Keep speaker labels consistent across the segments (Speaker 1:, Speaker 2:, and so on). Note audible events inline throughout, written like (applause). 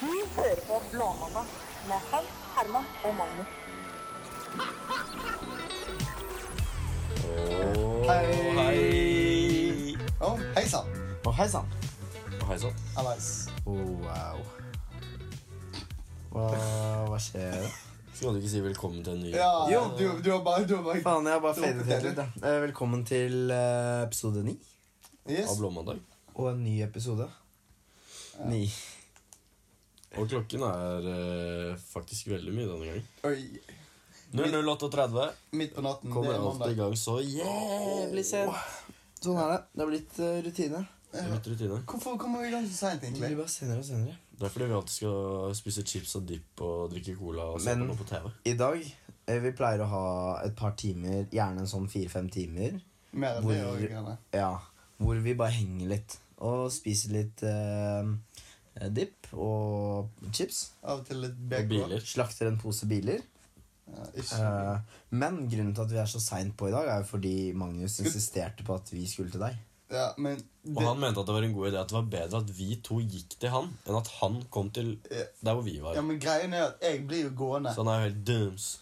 Speaker 1: Du hører på Blåmandag med Hans, Herman og Magnus.
Speaker 2: Hei!
Speaker 3: Å, hei sann.
Speaker 2: Å, hei sann.
Speaker 4: Hei sann.
Speaker 3: Hallais.
Speaker 2: Å, wow. Hva, hva skjer?
Speaker 4: Skulle du ikke si velkommen til en ny
Speaker 3: Ja,
Speaker 2: Jo.
Speaker 3: du, du har bare, du har bare
Speaker 2: Faen, jeg har bare fadet helt ut. jeg. Eh, Velkommen til eh, episode ni.
Speaker 3: Yes.
Speaker 4: av Blåmandag?
Speaker 2: Og en ny episode. Ni.
Speaker 4: Og klokken er eh, faktisk veldig mye denne gangen.
Speaker 3: Oi.
Speaker 4: 00.38.
Speaker 3: Midt på natten. Det
Speaker 4: Kommer
Speaker 3: er
Speaker 4: alt i
Speaker 3: mandag.
Speaker 4: gang så jævlig sent.
Speaker 2: Sånn er det. Det har blitt eh, rutine.
Speaker 4: Det er mitt rutine.
Speaker 3: Hvorfor kommer vi i gang så seint,
Speaker 2: Det blir
Speaker 3: egentlig?
Speaker 2: bare senere og senere.
Speaker 4: Det er fordi vi alltid skal spise chips og dip og drikke cola og se
Speaker 2: Men-
Speaker 4: på noe på TV.
Speaker 2: I dag eh, vi pleier å ha et par timer, gjerne en sånn fire-fem timer,
Speaker 3: Mer enn det
Speaker 2: Hvor-
Speaker 3: og greiene.
Speaker 2: ja, hvor vi bare henger litt og spiser litt eh, dipp og chips.
Speaker 3: Av og til litt
Speaker 4: Og
Speaker 3: BK.
Speaker 4: biler.
Speaker 2: Slakter en pose biler.
Speaker 3: Ja, ikke
Speaker 2: Eh, men grunnen til at vi er så seint på i dag, er jo fordi Magnus
Speaker 3: Skulle-
Speaker 2: insisterte på at vi skulle til deg.
Speaker 3: Ja, men
Speaker 4: Og
Speaker 3: det,
Speaker 4: han mente at det var en god idé at det var bedre at vi to gikk til han, enn at han kom til
Speaker 3: Ja.
Speaker 4: der hvor vi var.
Speaker 3: eh, ja, men greien er at jeg blir jo gående.
Speaker 4: Så han er jo helt dums.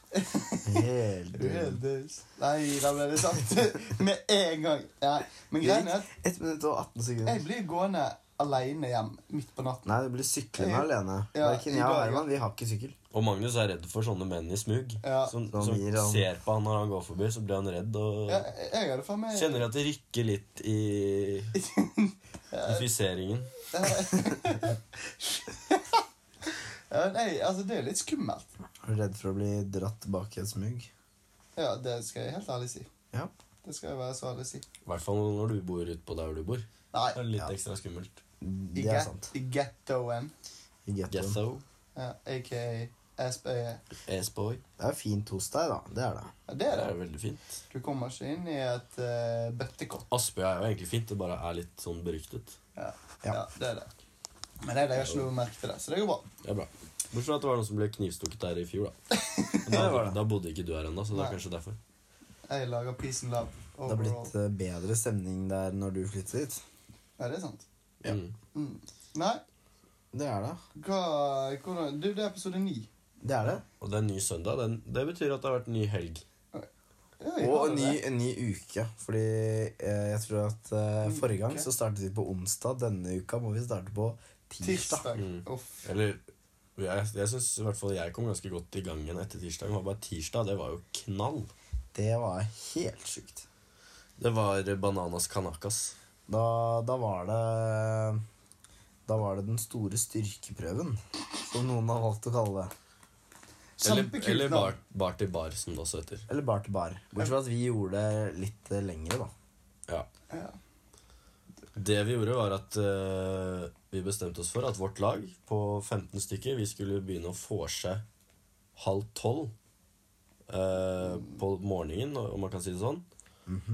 Speaker 2: Helt
Speaker 3: Du er helt dus. Nei, da ble det sagt (laughs) med en gang. Nei, men greien er at
Speaker 2: 1 minutt og 18
Speaker 3: jeg
Speaker 2: sekunder.
Speaker 3: blir gående aleine hjem midt på natten.
Speaker 2: Nei, det blir syklende
Speaker 3: Jeg-
Speaker 2: alene.
Speaker 3: Ja,
Speaker 2: Verken
Speaker 3: i
Speaker 2: jeg og
Speaker 3: dag, ja.
Speaker 2: Herman vi har ikke sykkel.
Speaker 4: Og Magnus er redd for sånne menn i smug.
Speaker 3: Ja.
Speaker 4: Som,
Speaker 2: Som
Speaker 4: som
Speaker 2: gir han-
Speaker 4: ser på han når han går forbi, så blir han redd og
Speaker 3: Ja, jeg, jeg hadde faen meg
Speaker 4: Kjenner at det rykker litt i,
Speaker 3: (laughs)
Speaker 4: i friseringen.
Speaker 3: Eh, Ja, Nei, altså, det er litt skummelt.
Speaker 2: Er du Redd for å bli dratt bak i et smug.
Speaker 3: Ja, det skal jeg helt ærlig si.
Speaker 2: Ja.
Speaker 3: Det skal jeg være så ærlig å si.
Speaker 4: I hvert fall når du bor utpå der hvor du bor.
Speaker 3: Nei,
Speaker 4: Det er litt
Speaker 2: Ja.
Speaker 4: ekstra skummelt.
Speaker 3: i,
Speaker 2: Det er
Speaker 3: get,
Speaker 2: sant.
Speaker 3: i gettoen,
Speaker 2: I gettoen.
Speaker 4: Getho,
Speaker 3: ja, aka SBE.
Speaker 4: S-boy.
Speaker 2: Det er fint hos deg, da. Det er det.
Speaker 3: E. Ja, det
Speaker 4: Det
Speaker 3: er
Speaker 4: er
Speaker 3: det.
Speaker 4: veldig fint.
Speaker 3: Du kommer ikke inn i et eh, bøttekott.
Speaker 4: Aspøy er jo egentlig fint, det bare er litt sånn beryktet.
Speaker 3: Ja.
Speaker 2: Ja.
Speaker 3: ja, det er det. Men jeg legger ikke noe merke til det, så det går bra.
Speaker 4: Det er bra. Bortsett fra at det var noen som ble knivstukket der i fjor, da. Men
Speaker 2: Det
Speaker 4: Da,
Speaker 2: var det.
Speaker 4: da bodde ikke du her ennå, så det er
Speaker 3: Nei.
Speaker 4: kanskje derfor.
Speaker 3: Jeg lager peace and love
Speaker 2: Det har
Speaker 3: overall.
Speaker 2: blitt eh, bedre stemning der når du flytter dit.
Speaker 3: Ja, det er sant.
Speaker 4: Mm.
Speaker 3: Mm. Nei,
Speaker 2: Det er det.
Speaker 3: hva hvordan, Du, det er episode ni.
Speaker 2: Det er det.
Speaker 4: Og det er en ny søndag. Den, det betyr at det har vært en ny helg.
Speaker 3: Ja, jeg
Speaker 2: Og en
Speaker 3: hører
Speaker 2: ny,
Speaker 3: det.
Speaker 2: en ny uke. Fordi eh, jeg tror at eh, forrige gang
Speaker 3: Uke.
Speaker 2: så startet vi på onsdag. Denne uka må vi starte på tirsdag.
Speaker 3: Tirsdag.
Speaker 4: Mm.
Speaker 3: Uff.
Speaker 4: Eller jeg, jeg synes i hvert fall jeg kom ganske godt i gang igjen etter tirsdag. Det var bare tirsdag. Det var jo knall.
Speaker 2: Det var helt sjukt.
Speaker 4: Det var bananas canakas.
Speaker 2: Da, da var det Da var det den store styrkeprøven, som noen har valgt å kalle det.
Speaker 4: Eller, eller
Speaker 3: Kjempekult
Speaker 4: bar,
Speaker 3: navn.
Speaker 4: bar til bar, som det også heter.
Speaker 2: Eller bar til bar. Bortsett fra at vi gjorde det litt eh, lengre, da.
Speaker 4: Ja.
Speaker 3: Ja.
Speaker 4: Det vi gjorde, var at eh, vi bestemte oss for at vårt lag på 15 stykker Vi skulle begynne å forse halv tolv eh, på morgenen, om man kan si det sånn.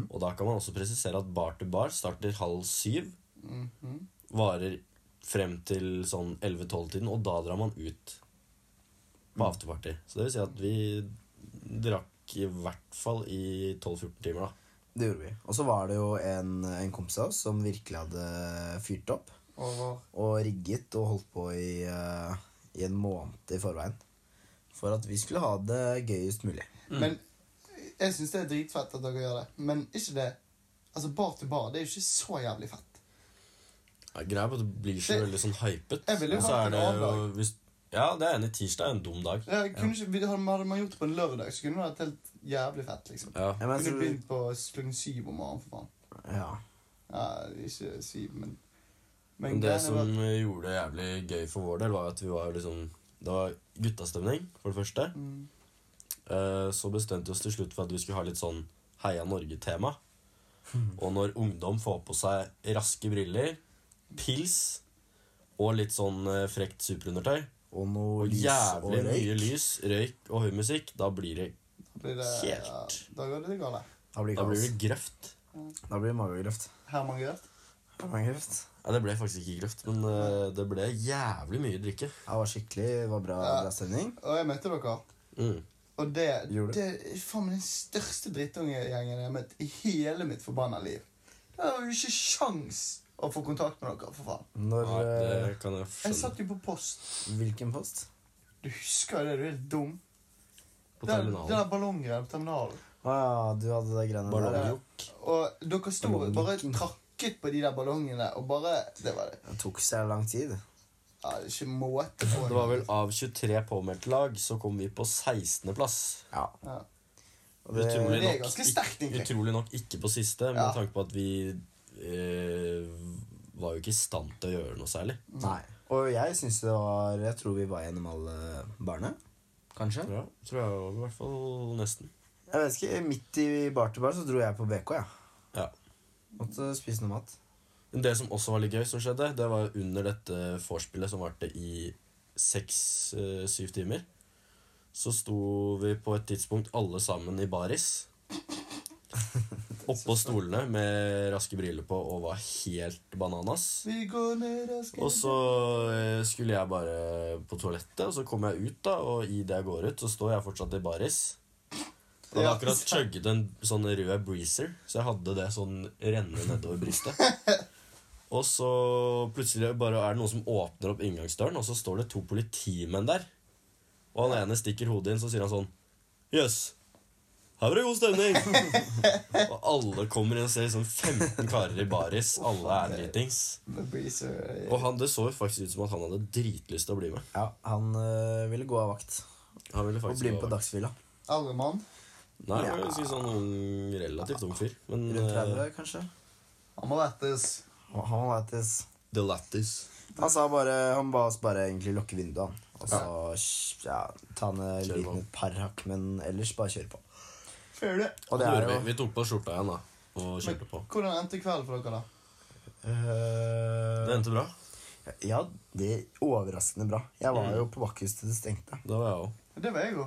Speaker 4: Og da kan man også presisere at bar til bar starter halv syv,
Speaker 3: Mhm.
Speaker 4: varer frem til sånn 11-12-tiden, og da drar man ut på afterparty. Så det vil si at vi drakk i hvert fall i 12-14 timer, da.
Speaker 2: Det gjorde vi. Og så var det jo en, en kompis av oss som virkelig hadde fyrt opp.
Speaker 3: Over
Speaker 2: og rigget og holdt på i, eh, i en måned i forveien. For at vi skulle ha det gøyest mulig.
Speaker 3: Men jeg syns det er dritfett at dere gjør det. Men ikke det Altså bar til bar, det er jo ikke så jævlig fett.
Speaker 4: Ja, greia er at det blir så
Speaker 3: Det-
Speaker 4: veldig sånn hypet.
Speaker 3: Jeg ville jo
Speaker 4: men så
Speaker 3: hatt
Speaker 4: er
Speaker 3: en
Speaker 4: det
Speaker 3: annen
Speaker 4: jo hvis, Ja, det er enig. Tirsdag er en dum dag.
Speaker 3: Ja, jeg kunne ikke, hadde man- hadde man gjort det på en lørdag, så kunne det vært helt jævlig fett. liksom
Speaker 4: Ja.
Speaker 2: Ja, men,
Speaker 3: Kunne
Speaker 2: så,
Speaker 3: begynt på klokken syv om morgenen, for faen.
Speaker 2: ja.
Speaker 3: Ja, ikke syv, men Men,
Speaker 4: Men det
Speaker 3: greien er
Speaker 4: som
Speaker 3: bare-
Speaker 4: eh, gjorde det jævlig gøy for vår del, var at vi var liksom Det var guttastemning, for det første.
Speaker 3: Mm.
Speaker 4: Eh, Så bestemte vi oss til slutt for at vi skulle ha litt sånn Heia Norge-tema.
Speaker 2: Hmm.
Speaker 4: Og når ungdom får på seg raske briller, pils og litt sånn eh, frekt superundertøy,
Speaker 2: Og noe
Speaker 4: og
Speaker 2: lys og
Speaker 4: jævlig mye
Speaker 2: røyk.
Speaker 4: lys, røyk og høy musikk, da blir det,
Speaker 3: Da blir det ja,
Speaker 4: Helt.
Speaker 3: Da går det galt.
Speaker 2: Da blir
Speaker 4: da blir det
Speaker 2: kaos.
Speaker 4: grøft.
Speaker 2: Da blir det magegrøft.
Speaker 3: Herman Grøft.
Speaker 2: Magegrøft.
Speaker 4: Ja, Det ble faktisk ikke grøft, men eh, det ble jævlig mye drikke.
Speaker 2: Det var skikkelig det var bra,
Speaker 3: Ja.
Speaker 2: bra stemning.
Speaker 3: Og jeg møtte dere.
Speaker 4: Mm.
Speaker 3: Og det,
Speaker 2: Gjorde
Speaker 3: det er faen meg den største drittungegjengen jeg har møtt i hele mitt forbanna liv. Det var jo ikke sjans og få kontakt med dere, for faen.
Speaker 2: Når
Speaker 4: Nei,
Speaker 2: eh,
Speaker 4: det kan jeg
Speaker 3: Jeg
Speaker 4: skjønne.
Speaker 3: satt jo på post.
Speaker 2: Hvilken post?
Speaker 3: Du husker jo det, du er helt dum.
Speaker 4: På
Speaker 3: Den, den
Speaker 4: terminalen.
Speaker 3: der ballongreia på terminalen.
Speaker 2: Å ja, du hadde de greiene
Speaker 4: Ballong.
Speaker 2: der. ja.
Speaker 3: Og dere sto
Speaker 2: Ballongen.
Speaker 3: bare trakket på de der ballongene, og bare Det var det.
Speaker 2: Det tok seg lang tid.
Speaker 3: Ja, det er ikke måte på.
Speaker 4: Det var vel av 23 påmeldte lag, så kom vi på 16.-plass.
Speaker 2: Ja.
Speaker 3: Ja.
Speaker 2: Og det,
Speaker 4: Utrolig
Speaker 3: Det er
Speaker 4: nok
Speaker 3: ganske
Speaker 4: ikke-
Speaker 3: sterkt, egentlig.
Speaker 4: Utrolig nok ikke på siste, med
Speaker 3: Ja.
Speaker 4: tanke på at vi eh, var jo ikke i stand til å gjøre noe særlig.
Speaker 2: nei. Og jeg syns det var Jeg tror vi var gjennom alle barene. Kanskje?
Speaker 4: Ja, tror jeg var i hvert fall nesten.
Speaker 2: Jeg vet ikke, Midt i bar til bar så dro jeg på BK, jeg. Ja.
Speaker 4: Ja.
Speaker 2: Måtte spise noe mat.
Speaker 4: Men det som også var litt gøy, som skjedde, det var under dette vorspielet som varte i seks-syv timer. Så sto vi på et tidspunkt alle sammen i baris. Oppå stolene med raske briller på og var helt bananas.
Speaker 3: Vi går ned og skal
Speaker 4: Og så eh, skulle jeg bare på toalettet, og så kom jeg ut, da, og i det jeg går ut, så står jeg fortsatt i baris. Jeg hadde
Speaker 3: Ja.
Speaker 4: akkurat chugget en sånn rød breezer, så jeg hadde det sånn renne nedover brystet. Og så plutselig bare er det noen som åpner opp inngangsdøren, og så står det to politimenn der. Og han ene stikker hodet inn, så sier han sånn Jøss, her var det god stemning! og alle kommer inn og ser sånn 15 karer i baris, alle er dritings.
Speaker 3: The Breezer.
Speaker 4: Og han, det så jo faktisk ut som at han hadde dritlyst til å bli med.
Speaker 2: Ja, Han øh, ville gå av vakt
Speaker 4: Han ville
Speaker 2: og
Speaker 4: faktisk
Speaker 2: bli med
Speaker 4: gå
Speaker 2: på
Speaker 4: over.
Speaker 2: Dagsfylla.
Speaker 3: Eldre mann.
Speaker 4: Nei, han var
Speaker 2: Ja.
Speaker 4: ganske sånn ung, relativt ung fyr. Men
Speaker 2: Rundt 30,
Speaker 4: eh,
Speaker 2: kanskje.
Speaker 3: Han må lettes.
Speaker 2: Og Han, letes.
Speaker 4: The Lattis.
Speaker 2: han sa bare Han ba oss bare egentlig lukke vinduet, han. Og så ja, ta ned
Speaker 4: Kjør på.
Speaker 2: lyden et par hakk, men ellers bare kjøre på.
Speaker 3: Fair det.
Speaker 2: Og det er jo
Speaker 4: vi. vi tok på skjorta igjen, da. Og kjørte på.
Speaker 3: Hvordan endte kvelden for dere, da?
Speaker 2: øh,
Speaker 4: Det endte bra.
Speaker 2: Ja, det er overraskende bra. Jeg var jo på Bakkhus til det stengte.
Speaker 4: Det var jeg òg.
Speaker 3: Det var jeg jo.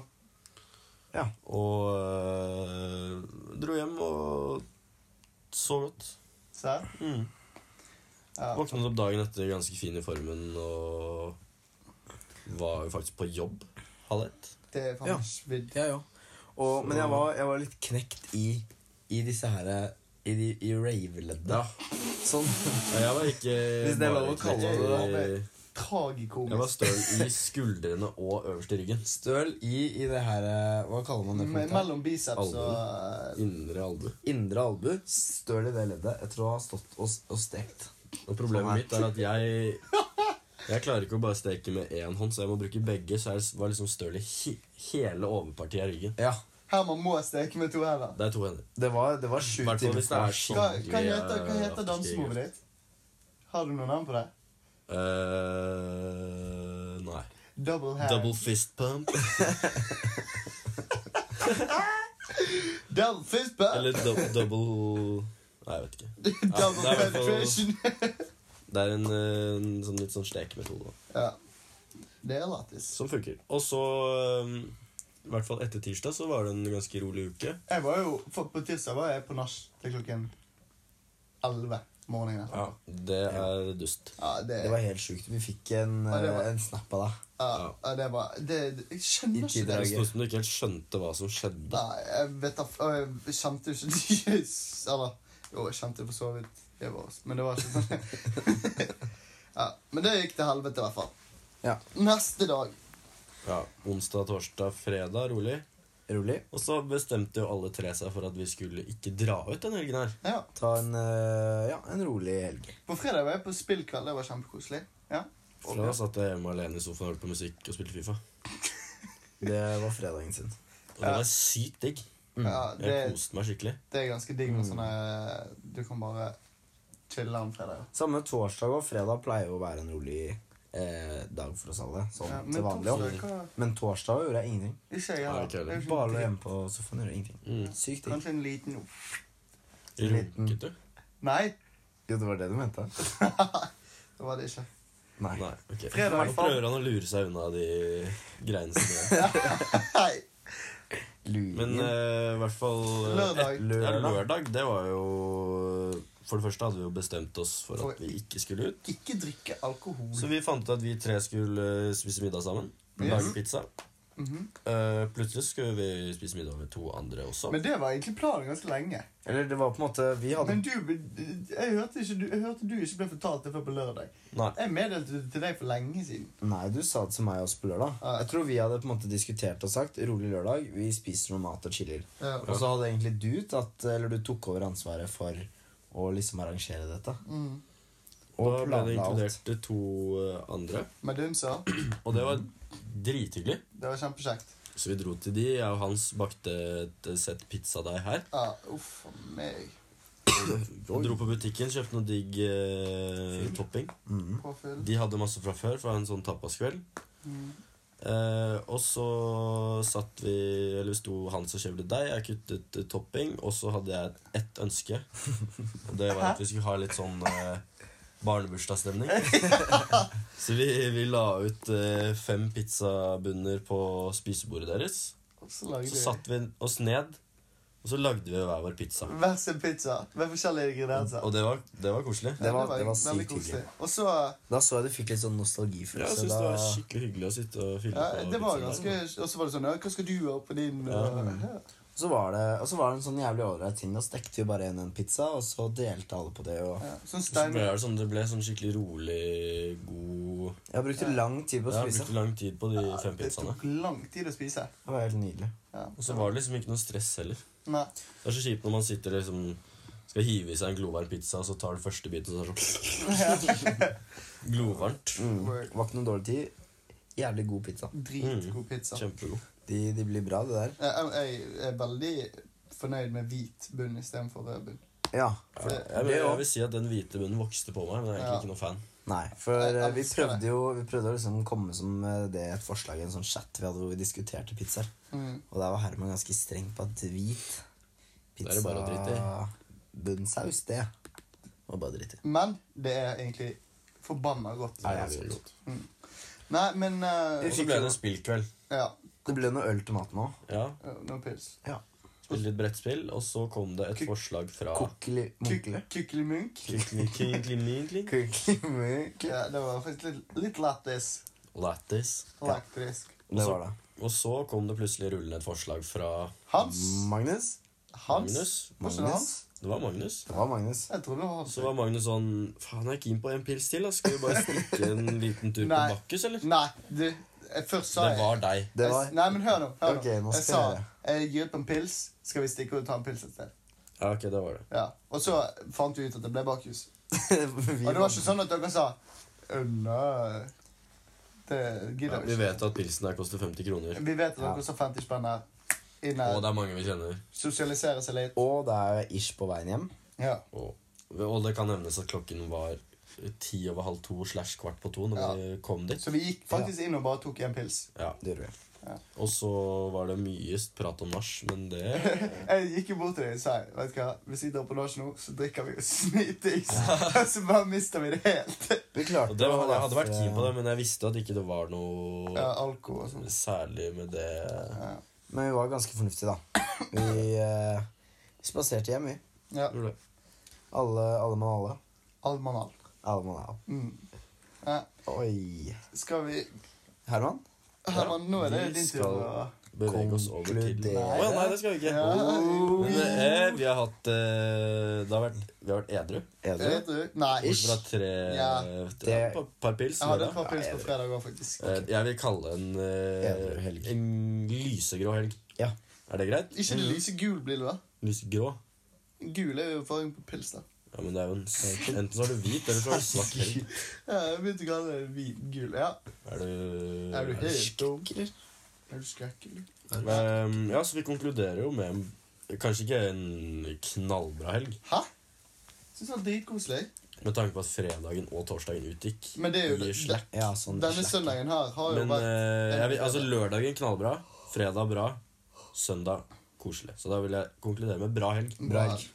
Speaker 2: Ja.
Speaker 4: Og eh, dro hjem og sov godt.
Speaker 3: Serr?
Speaker 4: Mm.
Speaker 3: Ja.
Speaker 4: Våknet opp dagen etter ganske fin i formen og var jo faktisk på jobb halv ett.
Speaker 3: Det er faen
Speaker 2: Ja.
Speaker 3: meg svidd.
Speaker 2: Jeg òg. Og- Men jeg var, jeg var litt knekt i, i disse her I, de- i rave-ledda.
Speaker 4: Ja.
Speaker 2: Sånn.
Speaker 4: Jeg var ikke
Speaker 2: Hvis det er lov å
Speaker 4: bare
Speaker 2: kalle
Speaker 3: det
Speaker 4: knekt i-
Speaker 3: det. Tragikomisk.
Speaker 4: Jeg var støl i skuldrene og øverst i ryggen.
Speaker 2: Støl i, i det her eh, Hva kaller man det? for
Speaker 3: Me-
Speaker 2: noe?
Speaker 3: Mellom biceps og eh,
Speaker 4: Indre albu.
Speaker 2: Indre albu. Støl i det leddet etter å ha stått og, og stekt.
Speaker 4: Og problemet
Speaker 2: Sånn her.
Speaker 4: mitt er at jeg Jeg klarer ikke å bare steke med én hånd, så jeg må bruke begge. Så jeg var liksom støl i he hele overpartiet av ryggen.
Speaker 2: Ja.
Speaker 3: Herman må steke med to hender.
Speaker 4: Det er to hender.
Speaker 2: Det var, det var sju
Speaker 4: Hvertfall
Speaker 2: timer
Speaker 4: hvis det er
Speaker 2: fors.
Speaker 4: sånn.
Speaker 3: Hva,
Speaker 4: Skikkelig,
Speaker 3: hva heter, hva
Speaker 4: eh,
Speaker 3: heter dansemovet ditt? Har du noe navn på det?
Speaker 4: Eh, nei.
Speaker 3: Double hand.
Speaker 4: Double fist pump.
Speaker 3: Double fist bump.
Speaker 4: Eller dou- double Nei, jeg vet ikke.
Speaker 3: (laughs) Double
Speaker 4: Ja, det er i hvert fall-
Speaker 3: penetration. (laughs)
Speaker 4: Det er en, eh, en sånn, litt sånn stekemetode. da.
Speaker 3: ja. Det er lættis.
Speaker 4: Som funker. Og så, eh, i hvert fall etter tirsdag, så var det en ganske rolig uke.
Speaker 3: Jeg var jo, for På tirsdag var jeg på nach til klokken 11 morgenen.
Speaker 4: Ja, Det er dust.
Speaker 3: Ja, det,
Speaker 2: Det var helt sjukt. Vi fikk en,
Speaker 3: Ja, det var-
Speaker 2: eh, en snap av deg.
Speaker 3: ja, ja, det var det, det, Jeg
Speaker 2: I
Speaker 3: skjønner ikke det.
Speaker 2: tider-
Speaker 4: Det sto som du ikke helt skjønte hva som skjedde.
Speaker 3: Nei, jeg vet da f- Jeg kjente jo ikke de Eller jo, jeg kjente for så vidt det var oss, men det var ikke sånn. (laughs) ja, men det gikk til helvete, i hvert fall.
Speaker 2: Ja.
Speaker 3: Neste dag
Speaker 4: Ja, Onsdag, torsdag, fredag, rolig.
Speaker 2: Rolig.
Speaker 4: Og så bestemte jo alle tre seg for at vi skulle ikke dra ut den helgen her.
Speaker 3: Ja,
Speaker 2: Ta en, eh, ja, en rolig helg.
Speaker 3: På fredag var jeg på spillkveld. Det var kjempekoselig. Ja.
Speaker 4: For da satt jeg hjemme alene i sofaen og hørte på musikk og spilte Fifa.
Speaker 2: Det var fredagen sin.
Speaker 4: Og det var sykt digg.
Speaker 3: ja det,
Speaker 4: Jeg koste meg skikkelig.
Speaker 3: det er ganske digg med sånne Du kan bare chille en fredag.
Speaker 2: Samme torsdag og fredag pleier jo å være en rolig eh, dag for oss alle. Sånn
Speaker 3: Ja,
Speaker 2: til vanlig.
Speaker 3: torsdag,
Speaker 2: også.
Speaker 3: hva-
Speaker 2: Men torsdag gjorde jeg ingenting.
Speaker 3: Ikke jeg
Speaker 4: Nei,
Speaker 3: heller.
Speaker 4: ikke heller.
Speaker 3: Jeg er ikke
Speaker 2: Bare lå
Speaker 3: dritt.
Speaker 2: hjemme på sofaen og gjorde ingenting.
Speaker 4: Mm.
Speaker 2: Sykt digg.
Speaker 3: Kanskje en liten
Speaker 2: Liten.
Speaker 4: Runket du?
Speaker 3: Nei,
Speaker 2: Jo, det var det du mente?
Speaker 3: det var det ikke. (laughs)
Speaker 2: Nei.
Speaker 4: Nei. ok.
Speaker 3: Fredag, i
Speaker 4: Nå
Speaker 3: hvert fall.
Speaker 4: prøver han å lure seg unna de
Speaker 3: (laughs)
Speaker 4: greiene sine.
Speaker 3: Nei,
Speaker 4: Men
Speaker 2: Luringen.
Speaker 4: eh, i hvert fall eh,
Speaker 3: Lørdag.
Speaker 4: et- Ja,
Speaker 2: Lørdag.
Speaker 4: lørdag, det var jo For det første hadde vi jo bestemt oss for at vi ikke skulle ut.
Speaker 3: ikke drikke alkohol.
Speaker 4: Så vi fant ut at vi tre skulle eh, spise middag sammen.
Speaker 3: Yes.
Speaker 4: Lage pizza.
Speaker 3: Mhm.
Speaker 4: Eh, plutselig skulle vi spise middag med to andre også.
Speaker 3: Men det var egentlig planen ganske lenge.
Speaker 2: Eller det var på en måte Vi hadde
Speaker 3: Men du, jeg hørte, ikke, du, jeg hørte du ikke ble fortalt det før på lørdag.
Speaker 4: Nei.
Speaker 3: Jeg meddelte det til deg for lenge siden.
Speaker 2: Nei, du sa det til meg også på lørdag.
Speaker 3: Ja.
Speaker 2: Jeg tror vi hadde på en måte diskutert og sagt rolig lørdag, vi spiser noe mat og chiller.
Speaker 3: Ja.
Speaker 2: Og så hadde egentlig du tatt, eller du tok over ansvaret for å liksom arrangere dette.
Speaker 3: Mm.
Speaker 2: Og
Speaker 4: da ble det
Speaker 2: planla alt.
Speaker 4: inkludert to eh, andre,
Speaker 3: Medunsa.
Speaker 4: og det var drithyggelig.
Speaker 3: Det var kjempekjekt.
Speaker 4: Så vi dro til de. Jeg og Hans bakte et sett pizzadeig her.
Speaker 3: Ja, uff a meg.
Speaker 4: Og dro på butikken, kjøpte noe digg eh, topping.
Speaker 2: Mm.
Speaker 3: Påfyll.
Speaker 4: De hadde masse fra før fra en sånn tapaskveld.
Speaker 3: Mm.
Speaker 4: Eh, og så satt vi Eller sto Hans og kjøpte deg. Jeg kuttet eh, topping, og så hadde jeg ett ønske. Og det var at vi skulle ha litt sånn eh, barnebursdagsstemning.
Speaker 3: (laughs)
Speaker 4: så vi, vi la ut eh, fem pizzabunner på spisebordet deres.
Speaker 3: Og så lagde
Speaker 4: Så
Speaker 3: vi
Speaker 4: satte vi oss ned, og så lagde vi hver vår pizza.
Speaker 3: hver sin pizza med forskjellige ingredienser.
Speaker 4: Og det var, det var koselig.
Speaker 2: Det var- det var
Speaker 3: veldig
Speaker 2: sykt hyggelig.
Speaker 3: koselig. Og så
Speaker 2: Da så jeg du fikk litt sånn
Speaker 4: Ja, jeg
Speaker 2: nostalgifølelse.
Speaker 4: synes det var
Speaker 2: da-
Speaker 4: skikkelig hyggelig å sitte og fylle
Speaker 3: ja,
Speaker 4: på.
Speaker 3: det var
Speaker 4: pizzaen der.
Speaker 3: ganske Og så var det sånn ja, Hva skal du ha på din
Speaker 4: Ja.
Speaker 2: så var det, og så var det en sånn jævlig ålreit ting. Da stekte vi bare igjen en pizza, og så delte alle på det. Og
Speaker 3: Ja, Sånn
Speaker 4: Så
Speaker 3: stein...
Speaker 4: ble det, sånn, det ble sånn skikkelig rolig, god
Speaker 2: jeg brukte lang tid på
Speaker 4: Jeg
Speaker 2: å
Speaker 4: har
Speaker 2: spise.
Speaker 4: brukt lang tid på de fem
Speaker 3: Det
Speaker 4: pizzaene.
Speaker 3: tok lang tid å spise.
Speaker 2: Det var helt nydelig.
Speaker 3: Ja.
Speaker 4: Og så var det liksom ikke noe stress heller.
Speaker 3: Nei.
Speaker 4: Det er så kjipt når man sitter liksom skal hive i seg en glovarm pizza, og så tar du første biten, og så er det
Speaker 2: (laughs)
Speaker 4: sånn Glovarmt.
Speaker 2: Mm.
Speaker 3: Word.
Speaker 2: Var ikke noe dårlig tid. Jævlig god pizza.
Speaker 3: Dritgod pizza.
Speaker 4: Kjempegod.
Speaker 2: De, de blir bra, det der.
Speaker 3: Jeg, jeg er veldig fornøyd med hvit bunn istedenfor rød bunn.
Speaker 2: Ja.
Speaker 3: For det-
Speaker 4: Jeg, vil-
Speaker 2: Det
Speaker 4: jeg
Speaker 2: også.
Speaker 4: vil si at den hvite bunnen vokste på meg, men jeg er egentlig
Speaker 3: Ja.
Speaker 4: ikke noe fan.
Speaker 2: Nei, for
Speaker 3: Jeg
Speaker 2: eh, vi
Speaker 3: elsker
Speaker 2: prøvde
Speaker 3: det.
Speaker 2: jo Vi prøvde å liksom komme som eh, det et forslag i en sånn chat vi hadde hvor vi diskuterte pizzaer.
Speaker 3: Mm.
Speaker 2: Og der var Herman ganske streng på at hvit
Speaker 4: Da er det bare å drite i.
Speaker 2: bunnsaus, det var bare dritt i.
Speaker 3: Men det er egentlig forbanna godt.
Speaker 2: Ja, ja, det er
Speaker 4: godt.
Speaker 3: Nei, men eh,
Speaker 4: Og så ble det en spillkveld.
Speaker 3: Ja.
Speaker 2: Det ble noe øl til maten òg.
Speaker 4: Ja,
Speaker 3: eh, Noe pils.
Speaker 2: Ja.
Speaker 4: Spilte litt brettspill, og så kom det et
Speaker 3: Kuk-
Speaker 4: forslag fra
Speaker 2: Kokkeli munkle.
Speaker 3: Kykkelimunk.
Speaker 4: Kikli- kikli- kikli- kikli-
Speaker 2: Kokkeli munkle.
Speaker 3: Ja, det var faktisk litt, litt lættis.
Speaker 4: Lattis.
Speaker 3: Elektrisk.
Speaker 2: Det var det.
Speaker 4: Og så kom det plutselig rullende et forslag fra
Speaker 3: Hans?
Speaker 2: Magnus?
Speaker 3: Hans?
Speaker 4: Magnus.
Speaker 3: Var ikke det Hans?
Speaker 4: Det var Magnus.
Speaker 2: Det var
Speaker 3: (laughs)
Speaker 2: Magnus.
Speaker 3: Jeg trodde det var Hans.
Speaker 4: Så var Magnus sånn Faen, jeg er keen på en pils til. da. Skal vi bare stikke en liten tur på
Speaker 3: Nei.
Speaker 4: Bakkus, eller?
Speaker 3: Nei, du jeg, Først sa
Speaker 4: Det
Speaker 3: jeg
Speaker 4: var deg.
Speaker 2: Det
Speaker 3: jeg-
Speaker 2: var
Speaker 3: Nei, men hør nå. Hør
Speaker 2: Ok, nå
Speaker 3: jeg
Speaker 2: skal
Speaker 3: sa
Speaker 2: jeg
Speaker 3: jeg gir ut en pils. Skal vi stikke og ta en pils et sted?
Speaker 4: Ja, ok, det var det.
Speaker 3: Ja. Og så fant vi ut at det ble bakhus.
Speaker 2: vi
Speaker 3: Og det var ikke sånn at dere sa «Øh, Nei, det
Speaker 4: Ja,
Speaker 3: gidder vi
Speaker 4: vi
Speaker 3: ikke.
Speaker 4: vet at pilsen her koster 50 kroner.
Speaker 3: Vi vet at
Speaker 2: Ja.
Speaker 3: dere sa 50 spenn her. Inn
Speaker 4: Og det
Speaker 3: her.
Speaker 4: er mange vi kjenner.
Speaker 3: Sosialisere seg litt.
Speaker 2: Og det er ish på veien hjem.
Speaker 3: Ja.
Speaker 4: Og, og det kan nevnes at klokken var ti over halv to slash kvart på to når
Speaker 3: Ja.
Speaker 4: vi kom dit.
Speaker 3: Så vi gikk faktisk inn og bare tok en
Speaker 4: (laughs)
Speaker 3: pils.
Speaker 4: Ja.
Speaker 2: Det gjorde vi.
Speaker 4: Og så var det mye prat om nach, men det
Speaker 3: (laughs) Jeg gikk jo bort til deg og sa Vet du hva, hvis vi drar på nach nå, så drikker vi jo snytings. (laughs) Og så bare mister vi det helt.
Speaker 2: Vi klarte
Speaker 4: og det var,
Speaker 2: å-
Speaker 4: Jeg hadde vært keen på det, men jeg visste at ikke det var noe
Speaker 3: Ja, alko og sånn.
Speaker 4: særlig med det.
Speaker 3: Ja.
Speaker 2: Men vi var ganske fornuftige, da. Vi eh, spaserte hjem, vi.
Speaker 3: ja.
Speaker 2: Alle, alle mann alle.
Speaker 3: Almanal.
Speaker 2: Alle mann alle.
Speaker 3: Mm. Ja.
Speaker 2: Oi.
Speaker 3: Skal vi
Speaker 2: Herman?
Speaker 3: Herman, nå er det
Speaker 4: Ja, vi
Speaker 3: din tur.
Speaker 4: skal-
Speaker 3: å-
Speaker 4: Bevege oss over til
Speaker 2: Konkludere.
Speaker 4: Å ja, nei, det skal vi ikke.
Speaker 3: Ja.
Speaker 4: Men eh, vi har hatt eh, Det har vært, vi har vært edru.
Speaker 2: Edru?
Speaker 3: Vet du? Nei.
Speaker 4: Bortsett fra tre
Speaker 3: Ja.
Speaker 4: tre- et par- par pils.
Speaker 3: Jeg hadde
Speaker 4: lørdag.
Speaker 3: et par pils på fredag òg, faktisk.
Speaker 4: Eh, Jeg vil kalle en eh,
Speaker 2: Edru helg.
Speaker 4: En lysegrå helg.
Speaker 2: Ja.
Speaker 4: Er det greit?
Speaker 3: Ikke det lysegul blir det, da?
Speaker 4: Lysegrå?
Speaker 3: Gul er jo fargen på pils, da.
Speaker 4: Ja, men det er jo en s- Enten så er du hvit, eller så er du svart helg.
Speaker 3: Ja, jeg begynte å kalle det hvit gul. Ja.
Speaker 4: Er du,
Speaker 3: Er du
Speaker 4: du
Speaker 3: helt dum?
Speaker 2: Skrekker.
Speaker 3: Er du skrekkelig?
Speaker 4: Um, Ja, så vi konkluderer jo med en, kanskje ikke en knallbra helg,
Speaker 3: Hæ? Syns det var dritkoselig.
Speaker 4: med tanke på at fredagen og torsdagen utgikk.
Speaker 3: Men det er jo
Speaker 4: i
Speaker 3: det-
Speaker 4: slack.
Speaker 2: Ja, sånn
Speaker 3: Denne
Speaker 2: slack.
Speaker 3: søndagen her har jo
Speaker 4: Men
Speaker 3: vært
Speaker 4: eh, jeg vil, altså lørdagen knallbra, fredag bra, søndag koselig. Så da vil jeg konkludere med bra helg.
Speaker 2: Bra helg.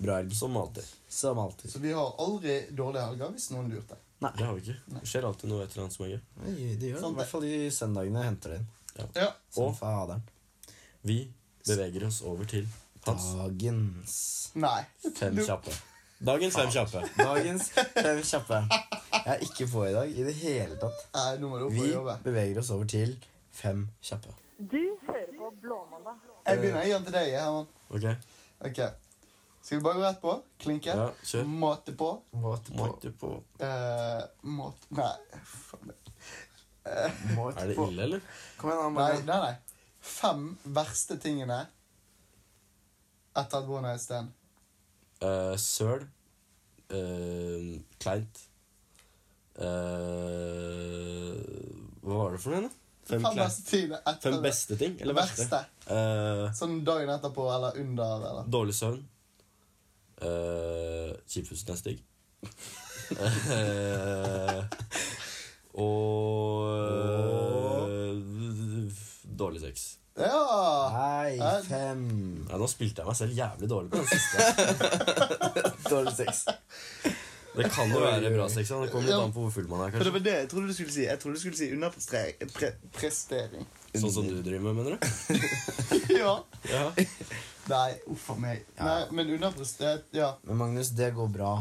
Speaker 2: Bra helg.
Speaker 4: Som alltid.
Speaker 2: Som alltid.
Speaker 3: Så vi har aldri dårlige helger, hvis noen lurte.
Speaker 4: Det har vi ikke. Det skjer alltid noe et eller annet som er gøy.
Speaker 2: Oi, det gjør det.
Speaker 3: Sånn
Speaker 2: I hvert fall de søndagene henter det inn.
Speaker 3: Ja.
Speaker 2: Som
Speaker 4: Og-
Speaker 2: faderen.
Speaker 4: Vi beveger oss over til Hans
Speaker 2: Dagens
Speaker 3: Nei.
Speaker 4: fem kjappe. Dagens fem kjappe.
Speaker 2: Dagens fem kjappe. Jeg er ikke på i dag i det hele tatt.
Speaker 3: Nei, nå må du opp
Speaker 2: Vi
Speaker 3: og jobbe.
Speaker 2: beveger oss over til
Speaker 4: fem kjappe.
Speaker 1: Du hører på Blåmandag.
Speaker 3: Jeg begynner igjen til deg, Herman.
Speaker 4: Ok?
Speaker 3: Ok. Skal vi bare gå rett på? Klinke?
Speaker 4: Ja, kjør.
Speaker 3: Måte på?
Speaker 2: Måte på.
Speaker 4: Måte på.
Speaker 3: Eh, måte Nei, faen.
Speaker 2: Måte
Speaker 4: Er det
Speaker 2: på.
Speaker 4: ille, eller?
Speaker 2: Kom igjen,
Speaker 3: Nei,
Speaker 2: Amalie.
Speaker 3: nei, nei. Fem verste tingene etter et one night stand.
Speaker 4: Eh, søl. Eh, kleint. Eh, hva var det for noe? da? Fem,
Speaker 3: Fem
Speaker 4: klein-
Speaker 3: beste tingene etter
Speaker 4: fem
Speaker 3: det.
Speaker 4: beste ting? Eller verste?
Speaker 3: Verste.
Speaker 4: Eh,
Speaker 3: Sånn dagen etterpå eller under eller
Speaker 4: dårlig søvn. Uh, Kjiphusen er stygg. Eh, og eh, dårlig sex.
Speaker 3: Ja!
Speaker 2: Nei,
Speaker 3: Nei.
Speaker 2: fem.
Speaker 4: Ja, nå spilte jeg meg selv jævlig dårlig på den siste.
Speaker 2: Dårlig sex.
Speaker 4: Det kan jo være bra sex. da. Det kommer litt an på hvor full man er,
Speaker 5: For det
Speaker 4: kanskje.
Speaker 5: var det jeg trodde du skulle si. Jeg trodde du skulle si underprestering. Pre
Speaker 3: Prestering.
Speaker 4: Sånn som du driver med, mener du?
Speaker 3: (laughs) ja.
Speaker 4: Ja.
Speaker 3: Nei, uff a meg. Nei, men underprestert Ja.
Speaker 2: Men Magnus, det går bra.